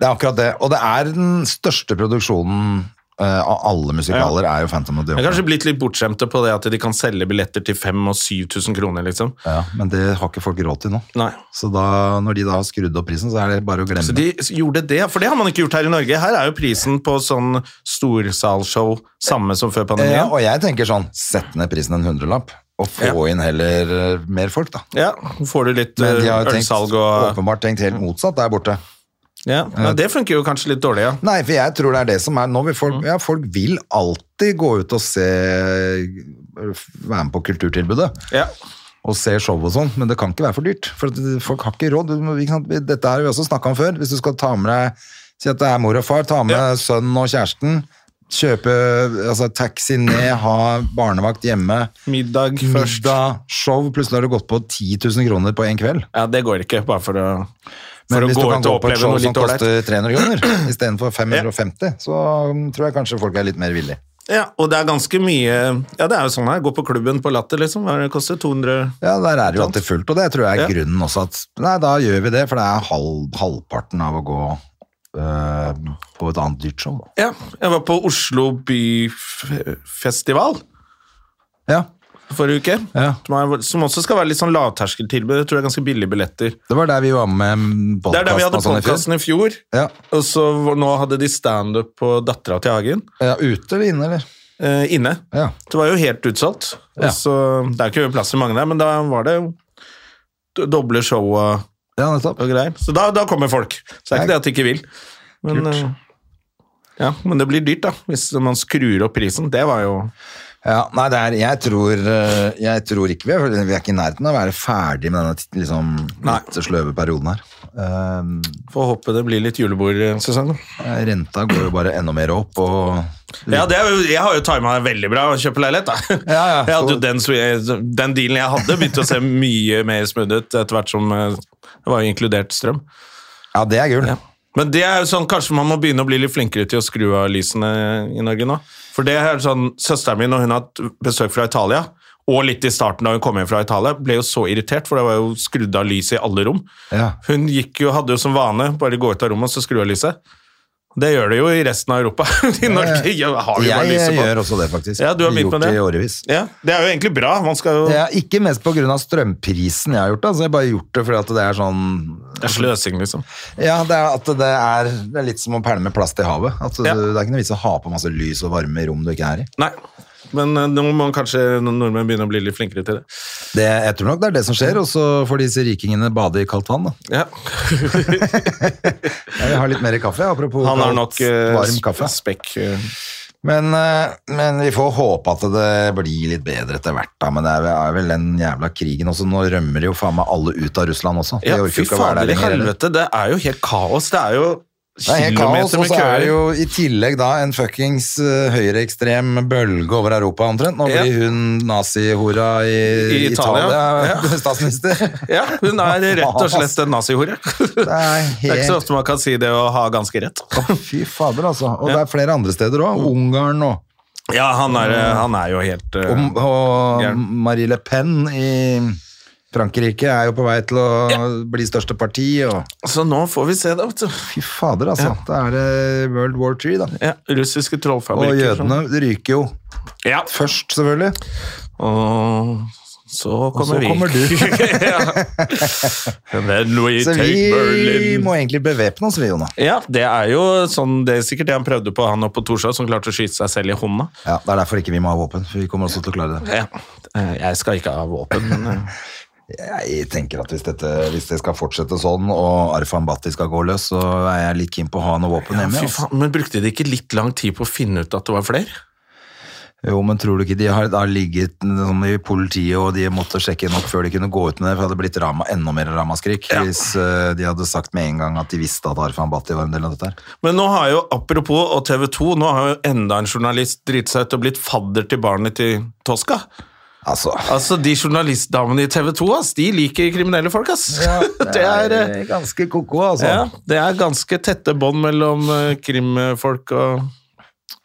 [SPEAKER 2] Det er akkurat det. Og det er den største produksjonen eh, av alle musikaler, er jo Phantom of the
[SPEAKER 1] Jeg er
[SPEAKER 2] Opera.
[SPEAKER 1] kanskje blitt litt bortskjemte på det at de kan selge billetter til 5000 og 7000 kroner, liksom.
[SPEAKER 2] Ja, men det har ikke folk råd til nå.
[SPEAKER 1] Nei.
[SPEAKER 2] Så da, når de da har skrudd opp prisen, så er det bare å glemme.
[SPEAKER 1] Så de gjorde det, for det har man ikke gjort her i Norge. Her er jo prisen på sånn storsalshow samme som før
[SPEAKER 2] Eh,
[SPEAKER 1] pandemien.
[SPEAKER 2] og jeg tenker sånn, sett ned prisen en hundrelapp, og få
[SPEAKER 1] Ja.
[SPEAKER 2] inn heller eh, mer folk, da.
[SPEAKER 1] Ja, får du litt
[SPEAKER 2] Men de har
[SPEAKER 1] eh,
[SPEAKER 2] jo tenkt,
[SPEAKER 1] ølsalg og
[SPEAKER 2] åpenbart tenkt helt motsatt der borte.
[SPEAKER 1] ja. ja, Det funker jo kanskje litt dårlig, ja.
[SPEAKER 2] Nei, for jeg tror det er det som er nå. Vil
[SPEAKER 1] Mm.
[SPEAKER 2] folk, ja, folk vil alltid gå ut og se Være med på kulturtilbudet.
[SPEAKER 1] ja.
[SPEAKER 2] og ser show og sånn, men det kan ikke være for dyrt. For at folk har ikke råd. Du må- Ikke sant? Dette har vi også snakka om før. Hvis du skal ta med deg Si at det er mor og far, ta med
[SPEAKER 1] Ja.
[SPEAKER 2] sønnen og kjæresten. Kjøpe altså, taxi ned, ha barnevakt hjemme.
[SPEAKER 1] Middag først.
[SPEAKER 2] Middag, show. Plutselig har du gått på 10 000 kroner på én kveld.
[SPEAKER 1] Ja, det går ikke, bare for å,
[SPEAKER 2] Men
[SPEAKER 1] for å
[SPEAKER 2] hvis
[SPEAKER 1] gå
[SPEAKER 2] du kan
[SPEAKER 1] ut
[SPEAKER 2] gå
[SPEAKER 1] og
[SPEAKER 2] på et
[SPEAKER 1] oppleve
[SPEAKER 2] show
[SPEAKER 1] noe
[SPEAKER 2] som
[SPEAKER 1] litt ålreit.
[SPEAKER 2] koster 300 kroner istedenfor 550, så um, tror jeg kanskje folk er litt mer villige.
[SPEAKER 1] Ja, og det er ganske mye Ja, det er jo sånn her. Gå på klubben på Latter, liksom. Hva er det det koster 200
[SPEAKER 2] Ja, der er det jo alltid fullt, og det tror jeg er
[SPEAKER 1] Ja.
[SPEAKER 2] grunnen også at Nei, da gjør vi det, for det er halv, halvparten av å gå øh, på et annet dyrt show. da.
[SPEAKER 1] Ja, jeg var på Oslo byfestival
[SPEAKER 2] Ja,
[SPEAKER 1] forrige uke.
[SPEAKER 2] Ja.
[SPEAKER 1] Som er- Som også skal være litt sånn lavterskeltilbud. Jeg tror det er ganske billige billetter.
[SPEAKER 2] det var der vi var med
[SPEAKER 1] Det er der vi hadde
[SPEAKER 2] podkasten og sånn i fjor.
[SPEAKER 1] podkasten i fjor,
[SPEAKER 2] Ja.
[SPEAKER 1] og så hvor- nå hadde de standup på Dattera til Hagen
[SPEAKER 2] ja, ute eller inne, eller?
[SPEAKER 1] eh, inne.
[SPEAKER 2] Ja.
[SPEAKER 1] Det var jo helt utsolgt.
[SPEAKER 2] Ja.
[SPEAKER 1] Og Så, det er ikke plass til mange der, men da var det jo do- doble show og,
[SPEAKER 2] Ja, nettopp.
[SPEAKER 1] og greier. Så da, da kommer folk. Så det er ikke
[SPEAKER 2] Nei.
[SPEAKER 1] det at de ikke vil. Men,
[SPEAKER 2] Kult.
[SPEAKER 1] eh, ja, men det blir dyrt, da, hvis man skrur opp prisen. Det var jo
[SPEAKER 2] Ja, nei, det er, jeg, tror, øh, jeg tror ikke vi er, vi er ikke i nærheten av å være ferdig med denne t- liksom,
[SPEAKER 1] Nei.
[SPEAKER 2] litt sløve perioden her. Ehm,
[SPEAKER 1] Får håpe det blir litt julebordsesong. da.
[SPEAKER 2] renta går jo bare enda mer opp, og
[SPEAKER 1] Ja, det er jo, jeg har jo tima det veldig bra å kjøpe leilighet, da.
[SPEAKER 2] Mm. Ja, ja.
[SPEAKER 1] Jeg hadde jo den, swe- den dealen jeg hadde, begynte å se mye mer smooth ut etter hvert som eh, det var jo inkludert strøm.
[SPEAKER 2] ja, det er gull.
[SPEAKER 1] Ja. Men det er jo sånn, kanskje man må begynne å bli litt flinkere til å skru av lysene i Norge nå. For det er sånn, Søsteren min når hun har hatt besøk fra Italia, og litt i starten da hun kom hjem fra Italia, ble jo så irritert, for det var jo skrudd av lyset i alle rom.
[SPEAKER 2] Ja.
[SPEAKER 1] Hun gikk jo, hadde jo som vane bare gå ut av rommet og så skru av lyset. Det gjør det jo i resten av Europa. I Norge har vi
[SPEAKER 2] Jeg
[SPEAKER 1] bare lyset på.
[SPEAKER 2] gjør også det, faktisk.
[SPEAKER 1] Ja, du har begynt
[SPEAKER 2] Gjort
[SPEAKER 1] med det.
[SPEAKER 2] i årevis.
[SPEAKER 1] Ja, det er jo egentlig bra. Man skal jo
[SPEAKER 2] Jeg har ikke mest på grunn av strømprisen jeg har gjort det. Altså, jeg har bare gjort det fordi at det er sånn
[SPEAKER 1] Det er sløsing, liksom.
[SPEAKER 2] Ja, det er, at det er, det er litt som å pælme med plast i havet. At
[SPEAKER 1] Ja.
[SPEAKER 2] Det er ikke noe vits å ha på masse lys og varme i rom du ikke er i.
[SPEAKER 1] Nei. Men eh, nå må kanskje nordmenn begynne å bli litt flinkere til det.
[SPEAKER 2] Det, jeg tror nok det er det som skjer, og så får disse rikingene bade i kaldt vann. Da.
[SPEAKER 1] Ja.
[SPEAKER 2] Jeg har litt mer kaffe, apropos
[SPEAKER 1] Han har
[SPEAKER 2] kaldt,
[SPEAKER 1] nok eh,
[SPEAKER 2] varm kaffe.
[SPEAKER 1] spekk eh,
[SPEAKER 2] Men, eh, men vi får håpe at det blir litt bedre etter hvert, da. Men det er vel- er vel den jævla krigen også. Nå rømmer jo faen meg alle ut av Russland også.
[SPEAKER 1] Ja,
[SPEAKER 2] De orker
[SPEAKER 1] fy
[SPEAKER 2] ikke å være der
[SPEAKER 1] fader i
[SPEAKER 2] lenger, eller?
[SPEAKER 1] helvete. Det er jo helt kaos. Det er jo
[SPEAKER 2] Det er helt kaos,
[SPEAKER 1] kilometer
[SPEAKER 2] og
[SPEAKER 1] med
[SPEAKER 2] så er
[SPEAKER 1] køer.
[SPEAKER 2] det jo i tillegg da en fuckings eh, høyreekstrem bølge over Europa omtrent. Nå
[SPEAKER 1] Ja.
[SPEAKER 2] blir hun nazihora i,
[SPEAKER 1] I Italia.
[SPEAKER 2] Italia,
[SPEAKER 1] Ja.
[SPEAKER 2] statsminister.
[SPEAKER 1] Ja, hun er rett og slett en nazihore. Det
[SPEAKER 2] er
[SPEAKER 1] er ikke så
[SPEAKER 2] helt-
[SPEAKER 1] ofte man kan si det og ha ganske rett.
[SPEAKER 2] Fy fader, altså. Og det er flere andre steder òg. Ungarn og,
[SPEAKER 1] Ja, han er, han er jo helt eh,
[SPEAKER 2] og, og
[SPEAKER 1] Gæren.
[SPEAKER 2] Marie Le Pen i Frankrike er jo på vei til å bli største parti. Og,
[SPEAKER 1] Så nå får vi se det, vet du.
[SPEAKER 2] fy fader, altså. Da er det sånn. World War III, da.
[SPEAKER 1] Ja, russiske
[SPEAKER 2] Og
[SPEAKER 1] trollfabrikker. som-
[SPEAKER 2] jødene ryker jo
[SPEAKER 1] Ja.
[SPEAKER 2] først, selvfølgelig.
[SPEAKER 1] Og så
[SPEAKER 2] så
[SPEAKER 1] kommer vi.
[SPEAKER 2] kommer du.
[SPEAKER 1] ja. And then we
[SPEAKER 2] Så
[SPEAKER 1] take
[SPEAKER 2] vi
[SPEAKER 1] Berlin.
[SPEAKER 2] må egentlig bevæpne oss, vi, Jonah.
[SPEAKER 1] Ja, det er jo sånn, det er sikkert det han prøvde på, han oppe på Torshov, som klarte å skyte seg selv i hånda.
[SPEAKER 2] Ja, Det er derfor ikke vi må ha våpen. for vi kommer også til å klare det.
[SPEAKER 1] Ja. eh, Jeg skal ikke ha våpen, men eh,
[SPEAKER 2] Jeg tenker at Hvis, dette, hvis det skal fortsette sånn, og Arfan Bhatti skal gå løs, så er jeg litt keen på å ha noe våpen hjemme.
[SPEAKER 1] fy
[SPEAKER 2] altså.
[SPEAKER 1] faen, men brukte de ikke litt lang tid på å finne ut at det var flere?
[SPEAKER 2] Jo, men tror du ikke de har, har ligget sånn i politiet og de måtte sjekke nok før de kunne gå ut med det? For det hadde blitt rama, enda mer ramaskrik hvis eh, de hadde sagt med en gang at de visste at Arfan Bhatti var en del av dette. her.
[SPEAKER 1] Men nå har jo, apropos og TV 2, nå har jo enda en journalist dritt seg ut og blitt fadder til barnet til Tosca.
[SPEAKER 2] Altså,
[SPEAKER 1] Altså, de journalistdamene i TV 2, ass, de liker kriminelle folk, ass. det er... eh,
[SPEAKER 2] eh, ganske ko-ko, altså.
[SPEAKER 1] Ja, det er ganske tette bånd mellom eh, krimfolk og,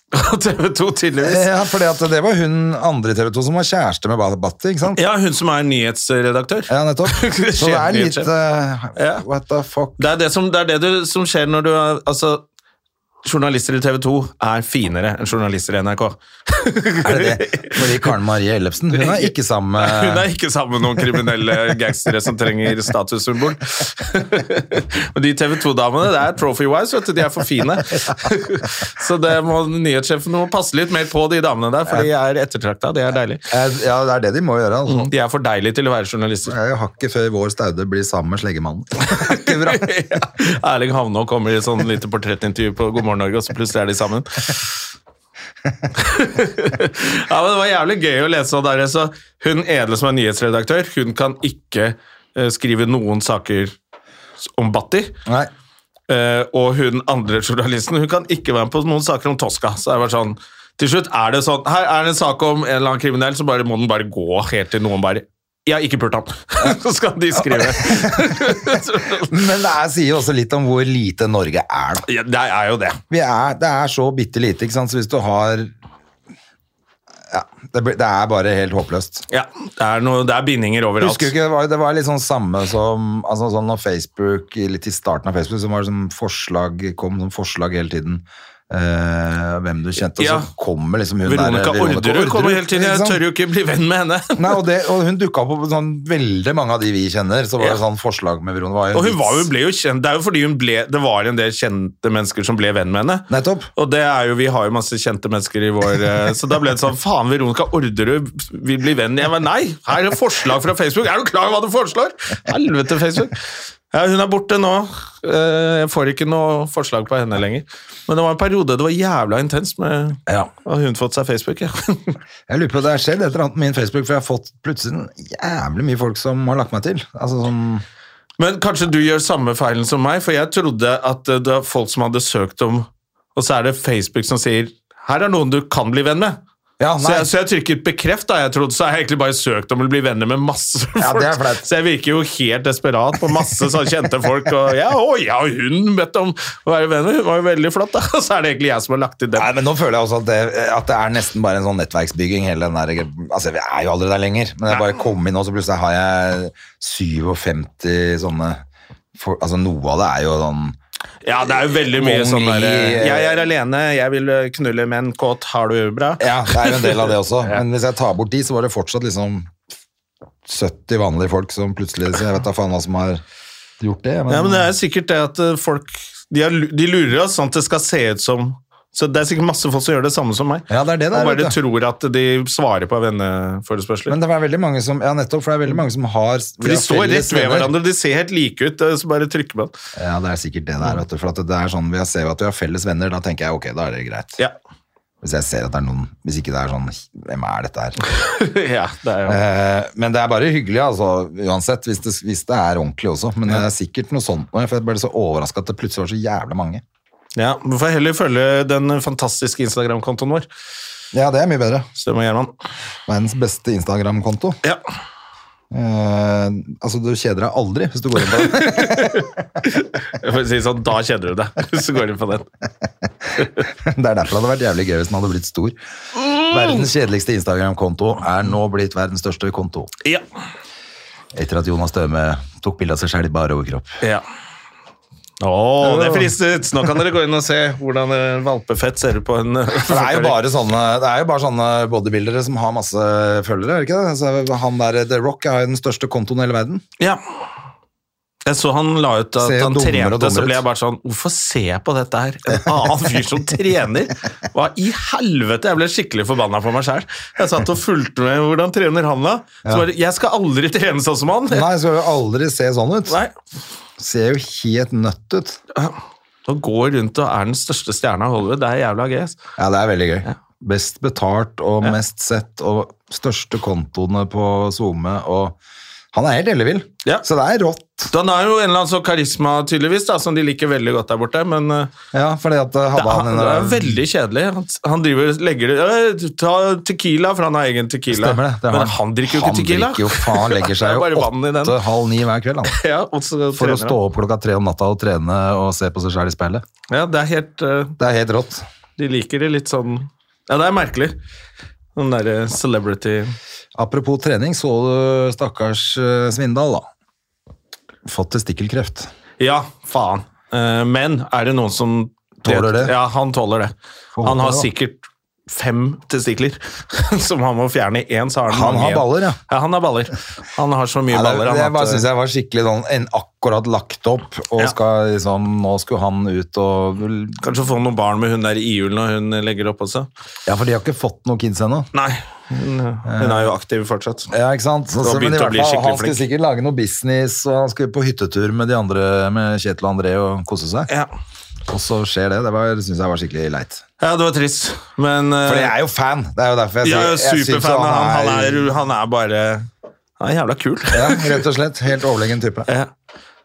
[SPEAKER 1] og TV 2, tydeligvis.
[SPEAKER 2] Ja, for det var hun andre i TV 2 som var kjæreste med Bhatti, ikke sant?
[SPEAKER 1] Ja, hun som er nyhetsredaktør.
[SPEAKER 2] Ja, nettopp. Så det er litt eh,
[SPEAKER 1] Ja.
[SPEAKER 2] What the fuck?
[SPEAKER 1] Det er det, som, det, er det du, som skjer når du er Altså, journalister i TV 2 er finere enn journalister i NRK.
[SPEAKER 2] Er det det? Fordi Karen Marie Ellefsen, hun er ikke sammen
[SPEAKER 1] Hun
[SPEAKER 2] med
[SPEAKER 1] er ikke sammen med noen kriminelle gangstere som trenger statussymbol. Og de TV 2-damene, det er trophy-wise, vet du. De er for fine. Så det må nyhetssjefen må passe litt mer på de damene der, for de er ettertrakta. Det er deilig.
[SPEAKER 2] Eh, Ja, det er det de må gjøre, altså.
[SPEAKER 1] De er for deilige til å være journalister.
[SPEAKER 2] Det er jo hakket før vår staude blir sammen med sleggemannen. Det er ikke bra.
[SPEAKER 1] Ja. Erling Havnå kommer i sånn lite portrettintervju på God morgen Norge, og så plutselig er de sammen. ja, men Det var jævlig gøy å lese sånn der. Så hun Edle, som er nyhetsredaktør, hun kan ikke eh, skrive noen saker om Batti.
[SPEAKER 2] Nei.
[SPEAKER 1] Eh, og hun andre journalisten hun kan ikke være med på noen saker om Tosca. Så det har vært sånn, til slutt er det sånn Her er det en sak om en eller annen kriminell, så bare må den bare gå helt til noen bare Jeg har ikke pult han. så skal de skrive.
[SPEAKER 2] Men det er, sier jo også litt om hvor lite Norge er, da.
[SPEAKER 1] ja, det er jo det.
[SPEAKER 2] Vi er, det er så bitte lite, ikke sant, så hvis du har Ja, det, blir- det er bare helt håpløst.
[SPEAKER 1] Ja, det, er noe, det er bindinger overalt.
[SPEAKER 2] Husker du ikke, det var, det var litt sånn samme som altså sånn når Facebook, litt i starten av Facebook, så var det sånn forslag, kom sånn forslag hele tiden. eh, hvem du kjente, og
[SPEAKER 1] Ja.
[SPEAKER 2] så kommer liksom hun
[SPEAKER 1] Veronica
[SPEAKER 2] der
[SPEAKER 1] Orderud kommer hele tiden. Jeg
[SPEAKER 2] ikke sant?
[SPEAKER 1] tør jo ikke bli venn med henne.
[SPEAKER 2] Nei, og, det, og hun dukka opp på sånn, veldig mange av de vi kjenner. Så var det sånn forslag med Veronica. var jo
[SPEAKER 1] Og hun var jo,
[SPEAKER 2] vits.
[SPEAKER 1] ble jo kjent, Det er jo fordi hun ble, det var en del kjente mennesker som ble venn med henne.
[SPEAKER 2] Nettopp.
[SPEAKER 1] Og det er jo, vi har jo masse kjente mennesker i vår eh, Så da ble det sånn Faen, Veronica Orderud vil bli venn. Jeg var nei! Her er forslag fra Facebook! Er du klar over hva du foreslår?! Helvete, Facebook! Ja, hun er borte nå. Eh, Jeg får ikke noe forslag på henne lenger. Men det var en periode det var jævla intenst med
[SPEAKER 2] Ja.
[SPEAKER 1] Og hun fått seg Facebook, ja.
[SPEAKER 2] Jeg lurer på det har skjedd et eller annet med min Facebook, for jeg har fått plutselig jævlig mye folk som har lagt meg til. Altså sånn
[SPEAKER 1] Men kanskje du gjør samme feilen som meg, for jeg trodde at eh, det var folk som hadde søkt om Og så er det Facebook som sier her er noen du kan bli venn med.
[SPEAKER 2] Ja,
[SPEAKER 1] Så
[SPEAKER 2] nei.
[SPEAKER 1] jeg, så jeg trykket bekreft, da. Jeg trodde, så har jeg egentlig bare søkt om å bli venner med masse folk.
[SPEAKER 2] Ja, det er flaut.
[SPEAKER 1] så jeg virker jo helt desperat på masse sånn kjente folk. Og ja, å, ja, hun bedt om å være venn med, hun var jo veldig flott, da. Og så er det egentlig jeg som har lagt til
[SPEAKER 2] Nei,
[SPEAKER 1] den.
[SPEAKER 2] men nå føler jeg også at det, at det er nesten bare en sånn nettverksbygging, hele den der, altså vi er jo aldri der lenger, men jeg bare kom inn nå, så plutselig har jeg 57 sånne, for, altså noe av det er jo sånn
[SPEAKER 1] Ja, det er jo veldig mye
[SPEAKER 2] Mange
[SPEAKER 1] sånn derre
[SPEAKER 2] i-
[SPEAKER 1] Jeg er alene, jeg vil knulle menn, kåt, har du bra?
[SPEAKER 2] Ja, det er jo en del av det også. Men hvis jeg tar bort de, så var det fortsatt liksom 70 vanlige folk som plutselig så Jeg vet da faen hva som har gjort det. Men,
[SPEAKER 1] Ja, men det er sikkert det at eh, folk De, har, lu- de lurer oss sånn at det skal se ut som Så det er sikkert masse folk som gjør det samme som meg.
[SPEAKER 2] Ja, det er det det er,
[SPEAKER 1] Og bare
[SPEAKER 2] vet du.
[SPEAKER 1] tror at de svarer på venneforespørsler.
[SPEAKER 2] Men det er veldig mange som Ja, nettopp, for det er veldig mange som har
[SPEAKER 1] For
[SPEAKER 2] vi
[SPEAKER 1] de
[SPEAKER 2] har
[SPEAKER 1] står
[SPEAKER 2] felles
[SPEAKER 1] rett ved
[SPEAKER 2] venner.
[SPEAKER 1] hverandre, de ser helt like ut. eh, Så bare trykker man.
[SPEAKER 2] Ja, det er sikkert det det er, vet du. For at det er sånn, vi ser jo at vi har felles venner, da tenker jeg ok, da er det greit.
[SPEAKER 1] Ja.
[SPEAKER 2] Hvis jeg ser at det er noen Hvis ikke det er sånn Hvem er dette her?
[SPEAKER 1] ja, det er jo
[SPEAKER 2] Eh, men det er bare hyggelig, altså, uansett. Hvis det, hvis det er ordentlig også. Men det er sikkert noe sånt nå. For jeg ble så overraska at det plutselig var så jævlig mange.
[SPEAKER 1] Ja, Du får heller følge den fantastiske Instagram-kontoen vår.
[SPEAKER 2] Ja, det er mye bedre.
[SPEAKER 1] Støm og Gjerman.
[SPEAKER 2] Verdens beste Instagram-konto.
[SPEAKER 1] Ja.
[SPEAKER 2] Eh, altså, du kjeder deg aldri hvis du går inn på den.
[SPEAKER 1] Jeg får si sånn, Da kjeder du deg, hvis du går inn på den.
[SPEAKER 2] Det er derfor det hadde vært jævlig gøy hvis den hadde blitt stor. Verdens kjedeligste Instagram-konto er nå blitt verdens største konto.
[SPEAKER 1] Ja.
[SPEAKER 2] Etter at Jonas Døme tok bilde av seg selv i bare overkropp.
[SPEAKER 1] ja. Å, det fristet! Nå kan dere gå inn og se hvordan eh, valpefett ser ut på en eh,
[SPEAKER 2] For det er jo bare sånne, det er jo bare sånne bodybuildere som har masse følgere, er det ikke det? Altså, han der, The Rock har jo den største kontoen i hele verden.
[SPEAKER 1] Ja. Jeg så han la ut at
[SPEAKER 2] Ser jo
[SPEAKER 1] han
[SPEAKER 2] dummere
[SPEAKER 1] trente,
[SPEAKER 2] og dummere
[SPEAKER 1] så ble jeg
[SPEAKER 2] ut.
[SPEAKER 1] bare sånn Hvorfor ser jeg på dette her? En annen fyr som trener? Hva i helvete? Jeg ble skikkelig forbanna på meg sjæl. Jeg satt og fulgte med. Hvordan trener han, da? Så bare, jeg skal aldri trene sånn som han!
[SPEAKER 2] Nei, skal jo aldri se sånn ut.
[SPEAKER 1] Nei.
[SPEAKER 2] Ser jo helt nødt ut.
[SPEAKER 1] Å gå rundt og er den største stjerna i Hollywood, det er jævla gøy. ass.
[SPEAKER 2] Ja, det er veldig gøy. Best betalt og mest sett og største kontoene på SoMe og Han er helt ellevill,
[SPEAKER 1] Ja.
[SPEAKER 2] så det er rått.
[SPEAKER 1] Så Han har jo en eller annen sånn karisma, tydeligvis, da, som de liker veldig godt der borte, men eh,
[SPEAKER 2] Ja, fordi at eh,
[SPEAKER 1] det
[SPEAKER 2] hadde
[SPEAKER 1] er,
[SPEAKER 2] han en
[SPEAKER 1] det er veldig kjedelig. Han, han driver, legger det «Øh, Ta tequila, for han har egen tequila.
[SPEAKER 2] Stemmer det. det er
[SPEAKER 1] men han drikker jo ikke tequila.
[SPEAKER 2] Han drikker jo faen, han legger seg
[SPEAKER 1] Det er
[SPEAKER 2] jo
[SPEAKER 1] bare vann i den.
[SPEAKER 2] åtte-halv ni hver kveld, han.
[SPEAKER 1] Ja, og så
[SPEAKER 2] For å
[SPEAKER 1] trener han.
[SPEAKER 2] stå opp klokka tre om natta og trene og se på seg sjøl i speilet.
[SPEAKER 1] Ja, det er helt eh,
[SPEAKER 2] Det er helt rått.
[SPEAKER 1] De liker det litt sånn Ja, det er merkelig. Den derre celebrity
[SPEAKER 2] Apropos trening, så du stakkars eh, Svindal, da. Fått testikkelkreft.
[SPEAKER 1] Ja, faen. Eh, men er det noen som
[SPEAKER 2] Tåler det?
[SPEAKER 1] Ja, han tåler det.
[SPEAKER 2] Får
[SPEAKER 1] han har
[SPEAKER 2] håpe det,
[SPEAKER 1] sikkert fem testikler som han må fjerne i én, så har han
[SPEAKER 2] Han
[SPEAKER 1] mange
[SPEAKER 2] har
[SPEAKER 1] igjen.
[SPEAKER 2] baller, ja.
[SPEAKER 1] Ja, han har baller. Han har eh, så mye
[SPEAKER 2] Nei,
[SPEAKER 1] baller.
[SPEAKER 2] det,
[SPEAKER 1] Han
[SPEAKER 2] det
[SPEAKER 1] at,
[SPEAKER 2] bare synes jeg var skikkelig sånn en akkurat lagt opp, og
[SPEAKER 1] Ja.
[SPEAKER 2] skal liksom, nå skulle han ut og
[SPEAKER 1] Kanskje få noen barn med hun der i IUL når hun legger opp også.
[SPEAKER 2] Ja, for de har ikke fått noen kids ennå.
[SPEAKER 1] Nei, hun, hun er jo aktiv fortsatt.
[SPEAKER 2] Ja, ikke sant? Så,
[SPEAKER 1] Du har
[SPEAKER 2] men i
[SPEAKER 1] begynt å
[SPEAKER 2] hvert
[SPEAKER 1] bli
[SPEAKER 2] fall,
[SPEAKER 1] skikkelig
[SPEAKER 2] han skulle
[SPEAKER 1] flink.
[SPEAKER 2] sikkert lage noe business, og han skulle på hyttetur med de andre, med Kjetil og André, og kose seg.
[SPEAKER 1] Ja,
[SPEAKER 2] Og så skjer det. Det var, synes jeg var skikkelig leit.
[SPEAKER 1] ja det var trist, men eh,
[SPEAKER 2] For jeg er jo fan, det er jo derfor jeg,
[SPEAKER 1] Jeg er
[SPEAKER 2] sier-
[SPEAKER 1] jo
[SPEAKER 2] jeg synes
[SPEAKER 1] superfan av han. Han er, han er bare Han er jævla kul.
[SPEAKER 2] Ja, rett og slett. Helt overlegen type.
[SPEAKER 1] Ja.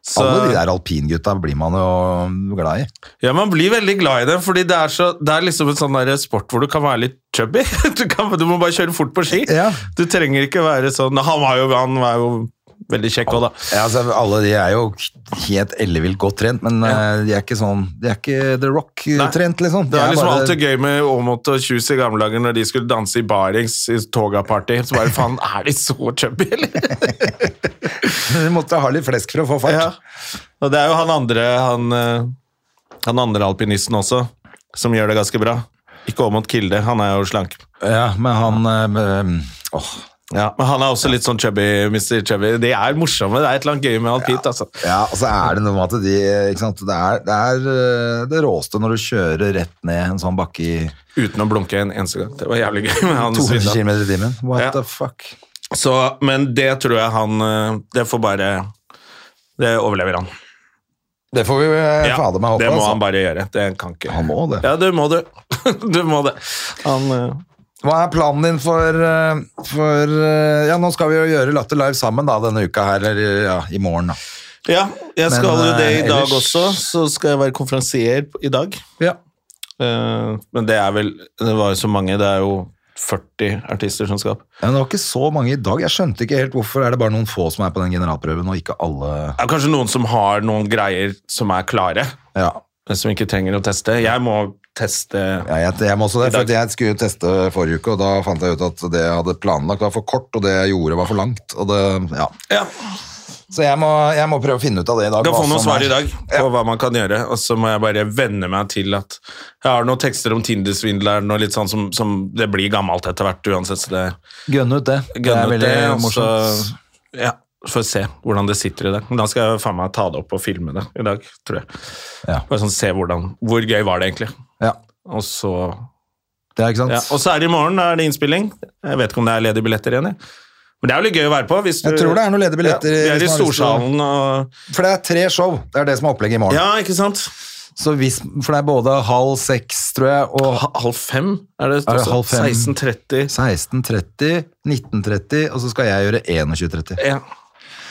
[SPEAKER 1] Så,
[SPEAKER 2] Alle de der alpingutta blir man jo glad i.
[SPEAKER 1] ja, man blir veldig glad i det, fordi det er, så, det er liksom en sånn der sport hvor du kan være litt chubby. Du, kan, du må bare kjøre fort på ski.
[SPEAKER 2] Ja.
[SPEAKER 1] Du trenger ikke være sånn Han var jo, han var jo veldig kjekk òg, da.
[SPEAKER 2] Ja, altså, alle de er jo helt ellevilt godt trent, men eh, de er ikke sånn De er ikke The Rock-trent, liksom.
[SPEAKER 1] Det
[SPEAKER 2] De
[SPEAKER 1] var liksom
[SPEAKER 2] bare-
[SPEAKER 1] alltid gøy med Aamodt og Kjus i gamle dager når de skulle danse i barings i toga-party. Så bare faen, er de så chubby, eller?
[SPEAKER 2] Du måtte ha litt flesk for å få fart.
[SPEAKER 1] Ja. Og det er jo han andre han, eh, han andre alpinisten også, som gjør det ganske bra. Ikke Aamodt Kilde, han er jo slank.
[SPEAKER 2] Ja, men han eh, Åh.
[SPEAKER 1] Ja, men han er også litt sånn chubby, Mr. Chubby. De er morsomme, det er et eller annet gøy med alpint, altså.
[SPEAKER 2] Ja, og så er det noe med at de ikke sant? Det, er, det er eh, det råeste når du kjører rett ned en sånn bakke i
[SPEAKER 1] Uten å blunke en eneste gang. Det var jævlig gøy med han
[SPEAKER 2] 200
[SPEAKER 1] Svindal.
[SPEAKER 2] km i timen. What
[SPEAKER 1] Ja.
[SPEAKER 2] the fuck?
[SPEAKER 1] Så, men det tror jeg han eh, Det får bare Det overlever han.
[SPEAKER 2] Det får vi eh, fader meg håpe.
[SPEAKER 1] det må
[SPEAKER 2] altså.
[SPEAKER 1] han bare gjøre. Det kan ikke
[SPEAKER 2] Han må det.
[SPEAKER 1] Ja, det må du. du må det. Han eh,
[SPEAKER 2] Hva er planen din for, eh, for eh, Ja, nå skal vi jo gjøre Latter Live sammen da, denne uka her, eller ja, i morgen. da.
[SPEAKER 1] Ja, jeg
[SPEAKER 2] Men,
[SPEAKER 1] skal jo det i
[SPEAKER 2] eh,
[SPEAKER 1] dag
[SPEAKER 2] ellers-
[SPEAKER 1] også. Så skal jeg være konferansier i dag.
[SPEAKER 2] Ja.
[SPEAKER 1] Eh, Men det er vel Det var jo så mange. Det er jo 40 artister som skal opp.
[SPEAKER 2] Men det var ikke så mange i dag. Jeg skjønte ikke helt hvorfor. Er det bare noen få som er på den generalprøven, og ikke alle
[SPEAKER 1] Det er kanskje noen som har noen greier som er klare,
[SPEAKER 2] Ja,
[SPEAKER 1] men som ikke trenger å teste. Jeg må teste
[SPEAKER 2] ja jeg, jeg må også det,
[SPEAKER 1] I dag-
[SPEAKER 2] for jeg skulle jo teste forrige uke, og da fant jeg ut at det jeg hadde planlagt var for kort, og det jeg gjorde var for langt. Og det, ja.
[SPEAKER 1] Ja.
[SPEAKER 2] Så jeg må, jeg må prøve å finne ut av det i dag.
[SPEAKER 1] Du kan
[SPEAKER 2] hva
[SPEAKER 1] få noen
[SPEAKER 2] som
[SPEAKER 1] svar
[SPEAKER 2] er-
[SPEAKER 1] i dag på hva man kan gjøre, og så må jeg bare venne meg til at jeg har noen tekster om Tinder-svindleren og litt sånn som, som Det blir gammelt etter hvert uansett, så det
[SPEAKER 2] Gønne ut det. det er
[SPEAKER 1] gunner
[SPEAKER 2] veldig
[SPEAKER 1] det. Og så
[SPEAKER 2] morsomt.
[SPEAKER 1] ja, får se hvordan det sitter i det. Men Da skal jeg faen meg ta det opp og filme det i dag, tror jeg.
[SPEAKER 2] Ja.
[SPEAKER 1] Bare sånn se hvordan Hvor gøy var det egentlig?
[SPEAKER 2] Ja,
[SPEAKER 1] Og så
[SPEAKER 2] det er ikke sant.
[SPEAKER 1] ja, Og så er det i morgen, da er det innspilling. Jeg vet ikke om det er ledige billetter igjen, jeg. Men det er jo litt gøy å være på. Hvis du,
[SPEAKER 2] Jeg tror det er noen ledige billetter,
[SPEAKER 1] Ja, vi er i
[SPEAKER 2] hvis man har lyst til å-
[SPEAKER 1] Storsalen og
[SPEAKER 2] For det er tre show. Det er det som er opplegget i morgen.
[SPEAKER 1] Ja, ikke sant?
[SPEAKER 2] Så hvis, for det er både halv seks, tror jeg, og
[SPEAKER 1] Ha- Halv fem? Er det, altså.
[SPEAKER 2] Er det
[SPEAKER 1] også?
[SPEAKER 2] halv fem?
[SPEAKER 1] 16.30?
[SPEAKER 2] 16.30, 19.30, og så skal jeg gjøre 21.30.
[SPEAKER 1] Ja.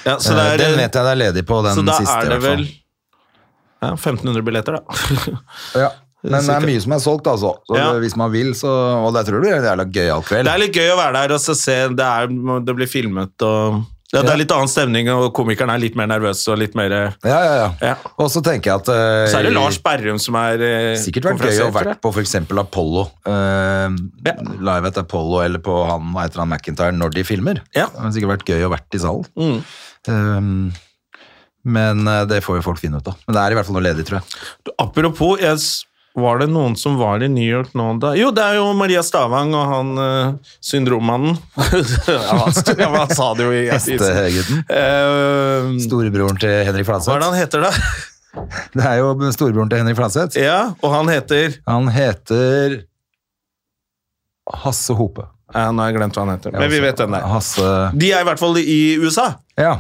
[SPEAKER 1] ja. Så, det
[SPEAKER 2] Eh,
[SPEAKER 1] er,
[SPEAKER 2] Den vet jeg det er ledig på, den
[SPEAKER 1] så da
[SPEAKER 2] siste. i
[SPEAKER 1] er det
[SPEAKER 2] hvert fall.
[SPEAKER 1] vel ja, 1500 billetter, da.
[SPEAKER 2] Ja. Men det er mye som er solgt, altså. Så
[SPEAKER 1] Ja.
[SPEAKER 2] hvis man vil, så Og det tror jeg blir en jævla gøyal kveld.
[SPEAKER 1] det er litt gøy å være der og så se Det, er, det blir filmet og ja, Det
[SPEAKER 2] Ja.
[SPEAKER 1] er litt annen stemning, og komikeren er litt mer nervøs og litt mer
[SPEAKER 2] Ja, ja, ja.
[SPEAKER 1] Ja.
[SPEAKER 2] Og så tenker jeg at eh,
[SPEAKER 1] Så er det Lars Berrum som er eh,
[SPEAKER 2] Sikkert vært gøy å
[SPEAKER 1] konferansier, tror
[SPEAKER 2] vært
[SPEAKER 1] jeg.
[SPEAKER 2] på f.eks. Apollo. eh,
[SPEAKER 1] Ja.
[SPEAKER 2] Live at Apollo eller på han hva heter han McIntyre når de filmer.
[SPEAKER 1] Ja. Mm.
[SPEAKER 2] Det har sikkert vært gøy å vært i salen. Eh, men eh, det får jo folk finne ut av. Men det er i hvert fall noe ledig, tror jeg.
[SPEAKER 1] Du, Apropos, jeg, s- var det noen som var i New York nå da? Jo, det er jo Maria Stavang og han eh, syndrommannen. ja, han, sto- ja, men han sa det jo i
[SPEAKER 2] Hestegutten.
[SPEAKER 1] Eh,
[SPEAKER 2] Storebroren til Henrik
[SPEAKER 1] hva er det
[SPEAKER 2] Flanseth.
[SPEAKER 1] han heter, da?
[SPEAKER 2] Det er jo storebroren til Henrik Flanseth.
[SPEAKER 1] Ja, og han heter
[SPEAKER 2] Han heter Hasse Hope.
[SPEAKER 1] ja, eh, Nå har jeg glemt hva han heter, men vi vet den der.
[SPEAKER 2] Hasse
[SPEAKER 1] De er i hvert fall i USA.
[SPEAKER 2] Ja.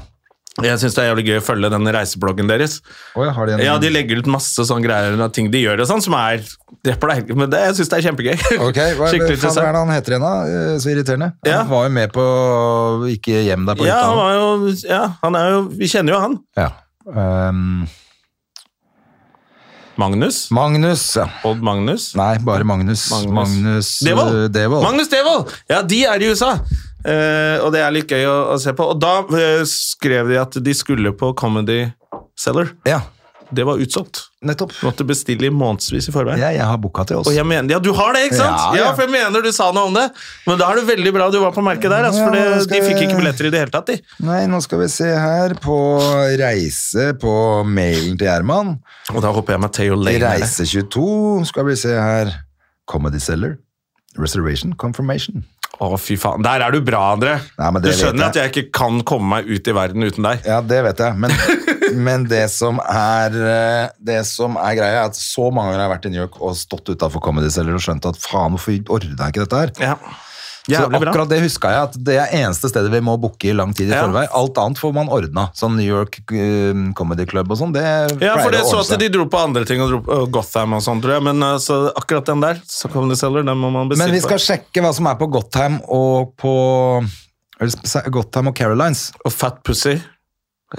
[SPEAKER 1] Jeg syns det er jævlig gøy å følge den reisebloggen deres.
[SPEAKER 2] Oi, har de en
[SPEAKER 1] Ja, De legger ut masse sånne greier og ting de gjør og sånn, som er det pleier, Men det, jeg syns det er kjempegøy.
[SPEAKER 2] Ok, hva er
[SPEAKER 1] Skikkelig
[SPEAKER 2] det faen, hva er
[SPEAKER 1] interessant.
[SPEAKER 2] det han heter igjen, da? Eh, Så irriterende. Han
[SPEAKER 1] Ja.
[SPEAKER 2] var jo med på Ikke gjem deg på
[SPEAKER 1] Ja, han
[SPEAKER 2] hytta.
[SPEAKER 1] var jo, ja, han er jo Vi kjenner jo han.
[SPEAKER 2] Ja. Ehm,
[SPEAKER 1] Magnus.
[SPEAKER 2] Magnus, ja.
[SPEAKER 1] Odd Magnus.
[SPEAKER 2] Nei, bare Magnus.
[SPEAKER 1] Magnus.
[SPEAKER 2] Magnus eh,
[SPEAKER 1] Devold.
[SPEAKER 2] Devold.
[SPEAKER 1] Magnus Devold! Ja, de er i USA. Eh, og det er litt gøy å, å se på. Og da eh, skrev de at de skulle på Comedy Cellar.
[SPEAKER 2] Ja,
[SPEAKER 1] Det var utsolgt.
[SPEAKER 2] nettopp.
[SPEAKER 1] Måtte bestille i månedsvis i forveien.
[SPEAKER 2] Ja, jeg har boka til oss.
[SPEAKER 1] Og jeg mener, ja, du har det, ikke sant?
[SPEAKER 2] Ja,
[SPEAKER 1] Ja,
[SPEAKER 2] ja.
[SPEAKER 1] for jeg mener du sa noe om det. Men da er det veldig bra du var på merket der, altså, for
[SPEAKER 2] Ja,
[SPEAKER 1] det,
[SPEAKER 2] skal
[SPEAKER 1] de fikk
[SPEAKER 2] jeg-
[SPEAKER 1] ikke billetter i det hele tatt, de.
[SPEAKER 2] Nei, nå skal vi se her på reise på mailen til Gjerman.
[SPEAKER 1] Og da håper jeg meg Theo
[SPEAKER 2] I
[SPEAKER 1] Lane. er det.
[SPEAKER 2] reise 22 skal vi se her. Comedy Seller. Reservation confirmation.
[SPEAKER 1] Å, fy faen. Der er du bra, André.
[SPEAKER 2] Nei, men
[SPEAKER 1] du
[SPEAKER 2] det vet
[SPEAKER 1] skjønner
[SPEAKER 2] jeg.
[SPEAKER 1] at jeg ikke kan komme meg ut i verden uten deg.
[SPEAKER 2] Ja, det vet jeg, men, men det, som er, eh, det som er greia, er at så mange ganger har jeg vært i New York og stått utafor Comedy Cellar og skjønt at faen, hvorfor ordna jeg ikke dette her?
[SPEAKER 1] Ja.
[SPEAKER 2] Så
[SPEAKER 1] Jævlig bra.
[SPEAKER 2] akkurat det huska jeg, at det er eneste stedet vi må booke i lang tid i
[SPEAKER 1] Ja.
[SPEAKER 2] forvei. Alt annet får man ordna. Sånn New York eh, Comedy Club og sånn, det
[SPEAKER 1] Ja, for
[SPEAKER 2] pleier
[SPEAKER 1] det
[SPEAKER 2] å
[SPEAKER 1] så
[SPEAKER 2] ordne
[SPEAKER 1] at
[SPEAKER 2] seg.
[SPEAKER 1] de dro på andre ting, og dro på og Gotham og sånn, tror jeg. Men altså, akkurat den der, så kom det selger, den må man bestille
[SPEAKER 2] Men vi skal sjekke hva som er på Gotham og på eller sp- Gotham og Carolines.
[SPEAKER 1] på. Og Fat Pussy.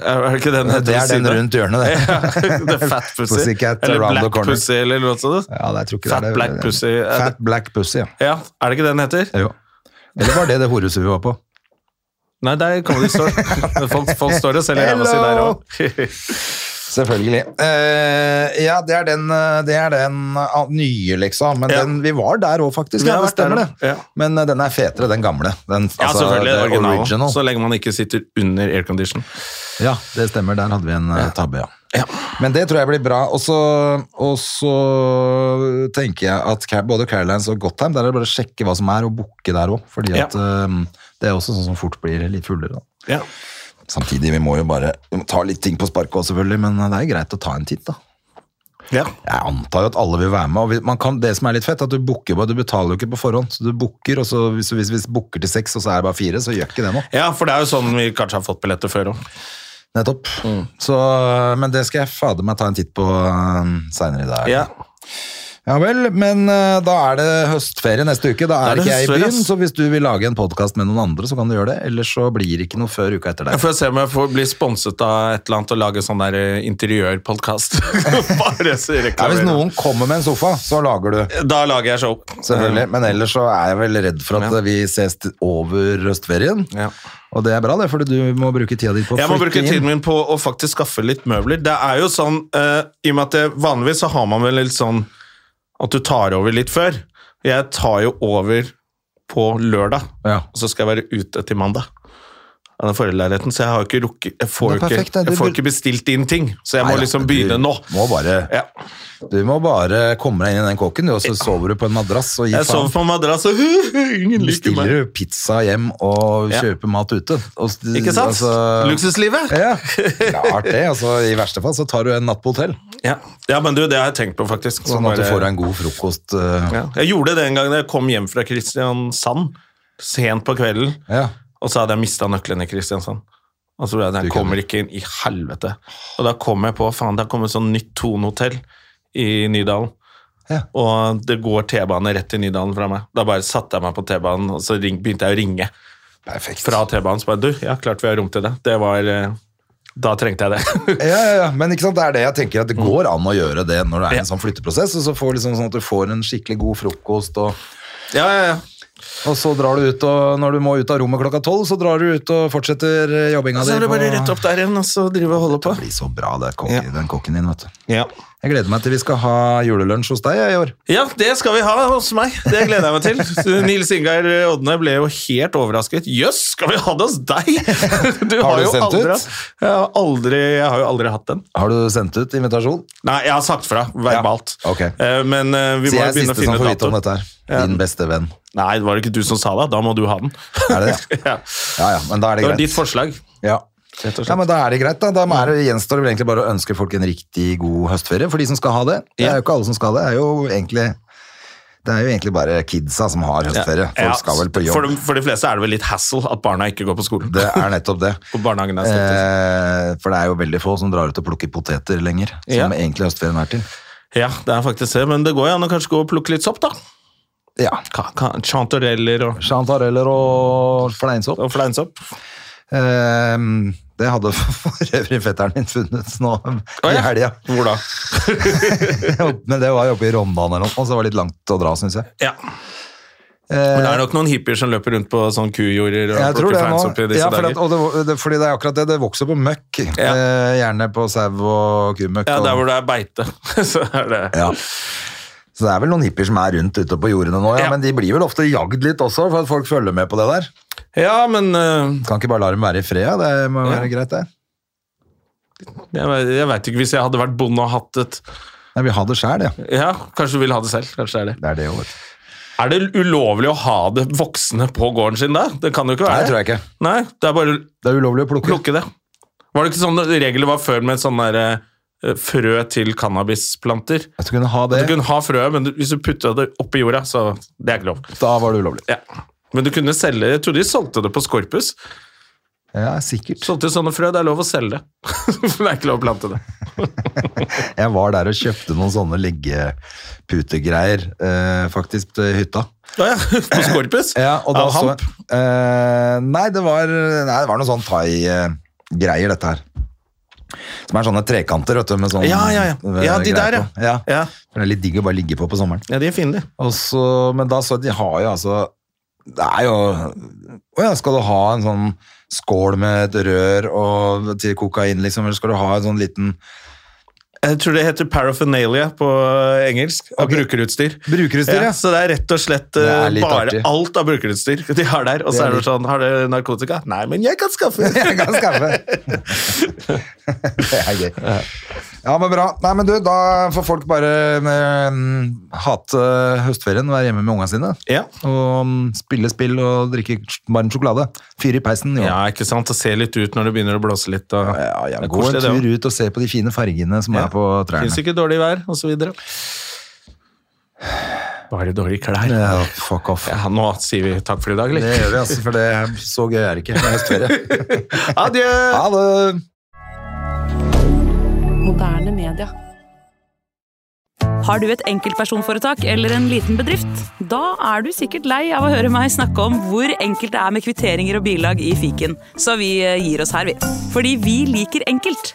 [SPEAKER 1] Er er det ikke den heter
[SPEAKER 2] Det
[SPEAKER 1] ved
[SPEAKER 2] er den
[SPEAKER 1] siden av?
[SPEAKER 2] rundt hjørnet,
[SPEAKER 1] Ja,
[SPEAKER 2] det.
[SPEAKER 1] The Fat Pussy.
[SPEAKER 2] Pussycat
[SPEAKER 1] eller
[SPEAKER 2] around the
[SPEAKER 1] Black
[SPEAKER 2] corner.
[SPEAKER 1] Pussy, eller noe sånt.
[SPEAKER 2] Ja, det, jeg tror ikke
[SPEAKER 1] Fat
[SPEAKER 2] det er det.
[SPEAKER 1] Black Pussy, er det-
[SPEAKER 2] Fat Black Pussy, ja.
[SPEAKER 1] Ja, er det ikke den heter?
[SPEAKER 2] Jo. Eller var det det horehuset vi var på?
[SPEAKER 1] Nei, der kommer de står. Folk, folk står og selger ræva si der
[SPEAKER 2] Hello!
[SPEAKER 1] òg.
[SPEAKER 2] Selvfølgelig. Eh, ja, det er den, eh, det er den ah, nye, liksom. Men
[SPEAKER 1] Ja.
[SPEAKER 2] den, vi var der òg, faktisk. Ja,
[SPEAKER 1] Vi har
[SPEAKER 2] det
[SPEAKER 1] vært der
[SPEAKER 2] stemmer,
[SPEAKER 1] også,
[SPEAKER 2] det.
[SPEAKER 1] ja.
[SPEAKER 2] Men eh, den er fetere, den gamle. Den,
[SPEAKER 1] Ja,
[SPEAKER 2] altså,
[SPEAKER 1] selvfølgelig.
[SPEAKER 2] det
[SPEAKER 1] Original.
[SPEAKER 2] original.
[SPEAKER 1] Så lenge man ikke sitter under aircondition.
[SPEAKER 2] Ja, det stemmer. Der hadde vi en eh, tabbe, ja. Men det tror jeg blir bra. Og så, og så tenker jeg at Ca- både Carolines og Gotham, der er det bare å sjekke hva som er, og booke der òg. Fordi
[SPEAKER 1] Ja.
[SPEAKER 2] at eh, det er også sånn som fort blir litt fullere. Da.
[SPEAKER 1] Ja.
[SPEAKER 2] Samtidig, vi må jo bare vi må ta litt ting på sparket òg, selvfølgelig, men eh, det er greit å ta en titt, da.
[SPEAKER 1] ja.
[SPEAKER 2] Jeg antar jo at alle vil være med. og vi- man kan, Det som er litt fett, er at du booker bare, du betaler jo ikke på forhånd. Så du booker, og så hvis, hvis vi booker til seks, og så er det bare fire, så gjør ikke det noe.
[SPEAKER 1] Ja, for det er jo sånn vi kanskje har fått billetter før òg.
[SPEAKER 2] Nettopp.
[SPEAKER 1] Mm.
[SPEAKER 2] Så, men det skal jeg fader meg ta en titt på seinere i dag.
[SPEAKER 1] Ja.
[SPEAKER 2] Ja vel, men eh, da er det høstferie neste uke. Da er,
[SPEAKER 1] Da er det
[SPEAKER 2] ikke jeg i
[SPEAKER 1] høstferie,
[SPEAKER 2] byen,
[SPEAKER 1] ass.
[SPEAKER 2] så hvis du vil lage en podkast med noen andre, så kan du gjøre det. Ellers så blir det ikke noe før uka etter
[SPEAKER 1] Jeg
[SPEAKER 2] deg.
[SPEAKER 1] får se om jeg får bli sponset av et eller annet og lage sånn der eh, interiørpodkast. Bare så
[SPEAKER 2] Ja, hvis
[SPEAKER 1] reklamerer.
[SPEAKER 2] noen kommer med en sofa, så lager du.
[SPEAKER 1] Da lager jeg show.
[SPEAKER 2] Selvfølgelig, Men ellers så er jeg vel redd for at
[SPEAKER 1] Ja.
[SPEAKER 2] eh, vi ses til- over høstferien.
[SPEAKER 1] Ja.
[SPEAKER 2] Og det er bra, det, for du må bruke tida di på å
[SPEAKER 1] Jeg må bruke
[SPEAKER 2] flytte inn.
[SPEAKER 1] tiden min på å faktisk skaffe litt møbler. Det er jo sånn, eh, i og med at det, vanligvis så har man vel litt sånn at du tar over litt før. Jeg tar jo over på lørdag,
[SPEAKER 2] Ja.
[SPEAKER 1] og så skal jeg være ute til mandag. av den forrige leiligheten, så jeg har ikke rukket Jeg får,
[SPEAKER 2] Det er
[SPEAKER 1] jo
[SPEAKER 2] perfekt,
[SPEAKER 1] ikke,
[SPEAKER 2] det. Du
[SPEAKER 1] jeg får
[SPEAKER 2] bur-
[SPEAKER 1] ikke bestilt inn ting, så jeg
[SPEAKER 2] Nei
[SPEAKER 1] må
[SPEAKER 2] da,
[SPEAKER 1] liksom
[SPEAKER 2] du
[SPEAKER 1] begynne nå.
[SPEAKER 2] må bare-
[SPEAKER 1] ja.
[SPEAKER 2] Du må bare komme deg inn i den kåken, du, og så sover du på en madrass og gi
[SPEAKER 1] Jeg sover
[SPEAKER 2] faen.
[SPEAKER 1] på madrass, og ingen liker meg.
[SPEAKER 2] Bestiller du pizza hjem og
[SPEAKER 1] Ja.
[SPEAKER 2] kjøper mat ute. Og, s-
[SPEAKER 1] Ikke sant?
[SPEAKER 2] altså-
[SPEAKER 1] Luksuslivet!
[SPEAKER 2] Ja, klart det. Altså, I verste fall så tar du en natt på hotell,
[SPEAKER 1] Ja. ja, men du, det har jeg tenkt på, faktisk. Så
[SPEAKER 2] sånn at du
[SPEAKER 1] bare-
[SPEAKER 2] får deg en god frokost. eh,
[SPEAKER 1] Ja. Jeg gjorde det en gang da jeg kom hjem fra Kristiansand, sent på kvelden,
[SPEAKER 2] Ja.
[SPEAKER 1] og så hadde jeg mista nøkkelen i Kristiansand. Og så ble jeg, den
[SPEAKER 2] Du
[SPEAKER 1] kommer
[SPEAKER 2] kødder.
[SPEAKER 1] ikke inn i helvete. Og da kom jeg på, faen, det har kommet sånn nytt Thon-hotell i Nydalen.
[SPEAKER 2] Ja.
[SPEAKER 1] Og det går T-bane rett til Nydalen fra meg. Da bare satte jeg meg på T-banen, og så ring, begynte jeg å ringe
[SPEAKER 2] Perfekt.
[SPEAKER 1] fra T-banen. Så bare, du, ja, klart vi har rom til det. Det var... eh, Da trengte jeg det.
[SPEAKER 2] Ja, ja, ja, men ikke sant, det er det jeg tenker at det går an å gjøre det når det er
[SPEAKER 1] Mm. Ja.
[SPEAKER 2] en sånn flytteprosess, og så får liksom sånn at du får en skikkelig god frokost, og,
[SPEAKER 1] ja, ja, ja.
[SPEAKER 2] og så drar du ut, og når du må ut av rommet klokka tolv, så drar du ut og fortsetter eh, jobbinga
[SPEAKER 1] Så er det bare
[SPEAKER 2] på-
[SPEAKER 1] rett opp der igjen, og så drive og holde på.
[SPEAKER 2] Det blir så bra, det, kokk-
[SPEAKER 1] Ja.
[SPEAKER 2] den kokken din, vet du.
[SPEAKER 1] Ja.
[SPEAKER 2] Jeg gleder meg til vi skal ha julelunsj hos deg i år.
[SPEAKER 1] Ja, det skal vi ha hos meg. Det gleder jeg meg til. Så Nils Ingar Odne ble jo helt overrasket. Jøss, skal vi ha det hos deg?! Du
[SPEAKER 2] Har du
[SPEAKER 1] jo
[SPEAKER 2] sendt
[SPEAKER 1] aldri,
[SPEAKER 2] ut?
[SPEAKER 1] hatt- Jeg har, aldri, jeg har jo aldri hatt den.
[SPEAKER 2] Har du sendt ut invitasjon?
[SPEAKER 1] Nei, jeg har sagt fra, verbalt.
[SPEAKER 2] Ja, ok.
[SPEAKER 1] Eh, Men eh, vi
[SPEAKER 2] Så
[SPEAKER 1] må
[SPEAKER 2] jeg
[SPEAKER 1] jo
[SPEAKER 2] er
[SPEAKER 1] begynne å
[SPEAKER 2] siste som
[SPEAKER 1] finne
[SPEAKER 2] får vite
[SPEAKER 1] dato.
[SPEAKER 2] om dette her. Din beste venn.
[SPEAKER 1] Nei, det var det ikke du som sa det. Da må du ha den.
[SPEAKER 2] Er det det?
[SPEAKER 1] Ja.
[SPEAKER 2] Ja, ja, men da er
[SPEAKER 1] Det
[SPEAKER 2] det
[SPEAKER 1] var ditt
[SPEAKER 2] greit.
[SPEAKER 1] forslag.
[SPEAKER 2] Ja.
[SPEAKER 1] Rett og slett.
[SPEAKER 2] ja, men da er det greit, da. Da er det, gjenstår det vel egentlig bare å ønske folk en riktig god høstferie, for de som skal ha det. Det er
[SPEAKER 1] Ja.
[SPEAKER 2] jo ikke alle som skal det. Det er jo egentlig, det er jo egentlig bare kidsa som har høstferie.
[SPEAKER 1] Ja,
[SPEAKER 2] Folk skal vel på
[SPEAKER 1] For
[SPEAKER 2] jobb.
[SPEAKER 1] de, for de fleste er det vel litt hassle at barna ikke går på skolen.
[SPEAKER 2] Det er nettopp det.
[SPEAKER 1] Og barnehagen er stengt.
[SPEAKER 2] Eh, for det er jo veldig få som drar ut og plukker poteter lenger, som
[SPEAKER 1] Ja.
[SPEAKER 2] egentlig høstferien er til.
[SPEAKER 1] Ja, det er faktisk det, men det går jo an å kanskje gå og plukke litt sopp, da.
[SPEAKER 2] Ja.
[SPEAKER 1] Ka- ka- Chantereller og,
[SPEAKER 2] Chantareller og fleinsopp.
[SPEAKER 1] og fleinsopp.
[SPEAKER 2] Ehm, det hadde for øvrig fetteren min funnet nå i
[SPEAKER 1] ja.
[SPEAKER 2] helga.
[SPEAKER 1] Hvor da?
[SPEAKER 2] Men det var jo oppe i Rondane eller noe, så det var litt langt å dra, syns jeg.
[SPEAKER 1] Ja. Men det er nok noen hippier som løper rundt på sånn kujorder og
[SPEAKER 2] Jeg tror
[SPEAKER 1] plukker
[SPEAKER 2] det nå.
[SPEAKER 1] fans opp i disse
[SPEAKER 2] Ja, for at,
[SPEAKER 1] dager.
[SPEAKER 2] og det, det, fordi det er akkurat det. Det vokser på møkk.
[SPEAKER 1] Ja.
[SPEAKER 2] Eh, gjerne på sau og kumøkk.
[SPEAKER 1] Ja,
[SPEAKER 2] og-
[SPEAKER 1] der hvor det er beite, så er det
[SPEAKER 2] Ja. Så det er vel noen hippier som er rundt ute på jordene nå, ja,
[SPEAKER 1] Ja.
[SPEAKER 2] men de blir vel ofte jagd litt også, for at folk følger med på det der.
[SPEAKER 1] Ja, men øh,
[SPEAKER 2] Kan ikke bare la dem være i fred, ja. det må være greit, det.
[SPEAKER 1] jeg, ve- jeg veit ikke. Hvis jeg hadde vært bonde og hatt et
[SPEAKER 2] Nei, vi har det sjæl, ja.
[SPEAKER 1] Ja, kanskje du vil ha det selv. Kanskje det er det.
[SPEAKER 2] Det er det jo, vet du.
[SPEAKER 1] Er det ulovlig å ha det voksne på gården sin da? Det kan jo ikke
[SPEAKER 2] Nei,
[SPEAKER 1] være
[SPEAKER 2] det tror jeg ikke.
[SPEAKER 1] det. Nei, det er bare å
[SPEAKER 2] Det er ulovlig å plukke.
[SPEAKER 1] plukke det. Var det ikke sånn regler var før med sånn derre øh, frø til cannabisplanter?
[SPEAKER 2] At du kunne ha det,
[SPEAKER 1] Du kunne ha frøet, men du, hvis du putta det oppi jorda, så Det er ikke lov.
[SPEAKER 2] da var det ulovlig.
[SPEAKER 1] Ja. Men du kunne selge Jeg tror de solgte det på Skorpus.
[SPEAKER 2] Ja, sikkert.
[SPEAKER 1] Solgte sånne frø. Det er lov å selge det. For det er ikke lov å plante det.
[SPEAKER 2] Jeg var der og kjøpte noen sånne leggeputegreier, eh, faktisk, til hytta.
[SPEAKER 1] Ja, ja. På Skorpus?
[SPEAKER 2] Ja, og da
[SPEAKER 1] Av
[SPEAKER 2] så
[SPEAKER 1] hamp?
[SPEAKER 2] jeg eh, Nei, det var, nei, det var noen sånn thai-greier, dette her. Som er sånne trekanter, vet du. Med sånn,
[SPEAKER 1] Ja, ja, ja.
[SPEAKER 2] med
[SPEAKER 1] Ja, de
[SPEAKER 2] greier
[SPEAKER 1] der,
[SPEAKER 2] på. ja.
[SPEAKER 1] Ja.
[SPEAKER 2] For Det er litt digg å bare ligge på på sommeren.
[SPEAKER 1] ja, de er fine, de.
[SPEAKER 2] Og så, men da så jeg at de har jo altså Det er jo Å ja, skal du ha en sånn skål med et rør og, til kokain, liksom? Eller skal du ha en sånn liten
[SPEAKER 1] Jeg tror det heter paraphernalia på engelsk. Av
[SPEAKER 2] Ok.
[SPEAKER 1] brukerutstyr.
[SPEAKER 2] Brukerutstyr, ja.
[SPEAKER 1] Så det er rett og slett
[SPEAKER 2] Det er
[SPEAKER 1] eh,
[SPEAKER 2] litt
[SPEAKER 1] bare
[SPEAKER 2] artig.
[SPEAKER 1] alt av brukerutstyr de har der. Og
[SPEAKER 2] Det
[SPEAKER 1] så
[SPEAKER 2] er
[SPEAKER 1] er det
[SPEAKER 2] litt-
[SPEAKER 1] sånn Har dere narkotika? Nei, men jeg kan skaffe det.
[SPEAKER 2] Jeg kan skaffe. det er gøy. Ja, men bra. Nei, men du, da får folk bare mm, hate høstferien, være hjemme med ungene sine.
[SPEAKER 1] Ja.
[SPEAKER 2] Og mm, spille spill og drikke varm sjokolade. Fyre i peisen. Jo.
[SPEAKER 1] ja, ikke sant. Og se litt ut når det begynner å blåse litt. Og...
[SPEAKER 2] Ja, ja,
[SPEAKER 1] Det er
[SPEAKER 2] Gå en
[SPEAKER 1] koselig, det
[SPEAKER 2] tur
[SPEAKER 1] også.
[SPEAKER 2] ut og se på de fine fargene som
[SPEAKER 1] Ja.
[SPEAKER 2] er på
[SPEAKER 1] Fins
[SPEAKER 2] trærne.
[SPEAKER 1] ikke dårlig vær, og så videre. Bare dårlige klær. Ja.
[SPEAKER 2] Ja, fuck off.
[SPEAKER 1] nå sier vi takk for i dag,
[SPEAKER 2] Det
[SPEAKER 1] eller?
[SPEAKER 2] gjør vi, altså, for det er så gøy er det ikke med høstferie.
[SPEAKER 1] Adjø!
[SPEAKER 2] Ha det!
[SPEAKER 3] Moderne media. Har du et enkeltpersonforetak eller en liten bedrift? Da er du sikkert lei av å høre meg snakke om hvor enkelt det er med kvitteringer og bilag i fiken, så vi eh, gir oss her, vi. Fordi vi liker enkelt.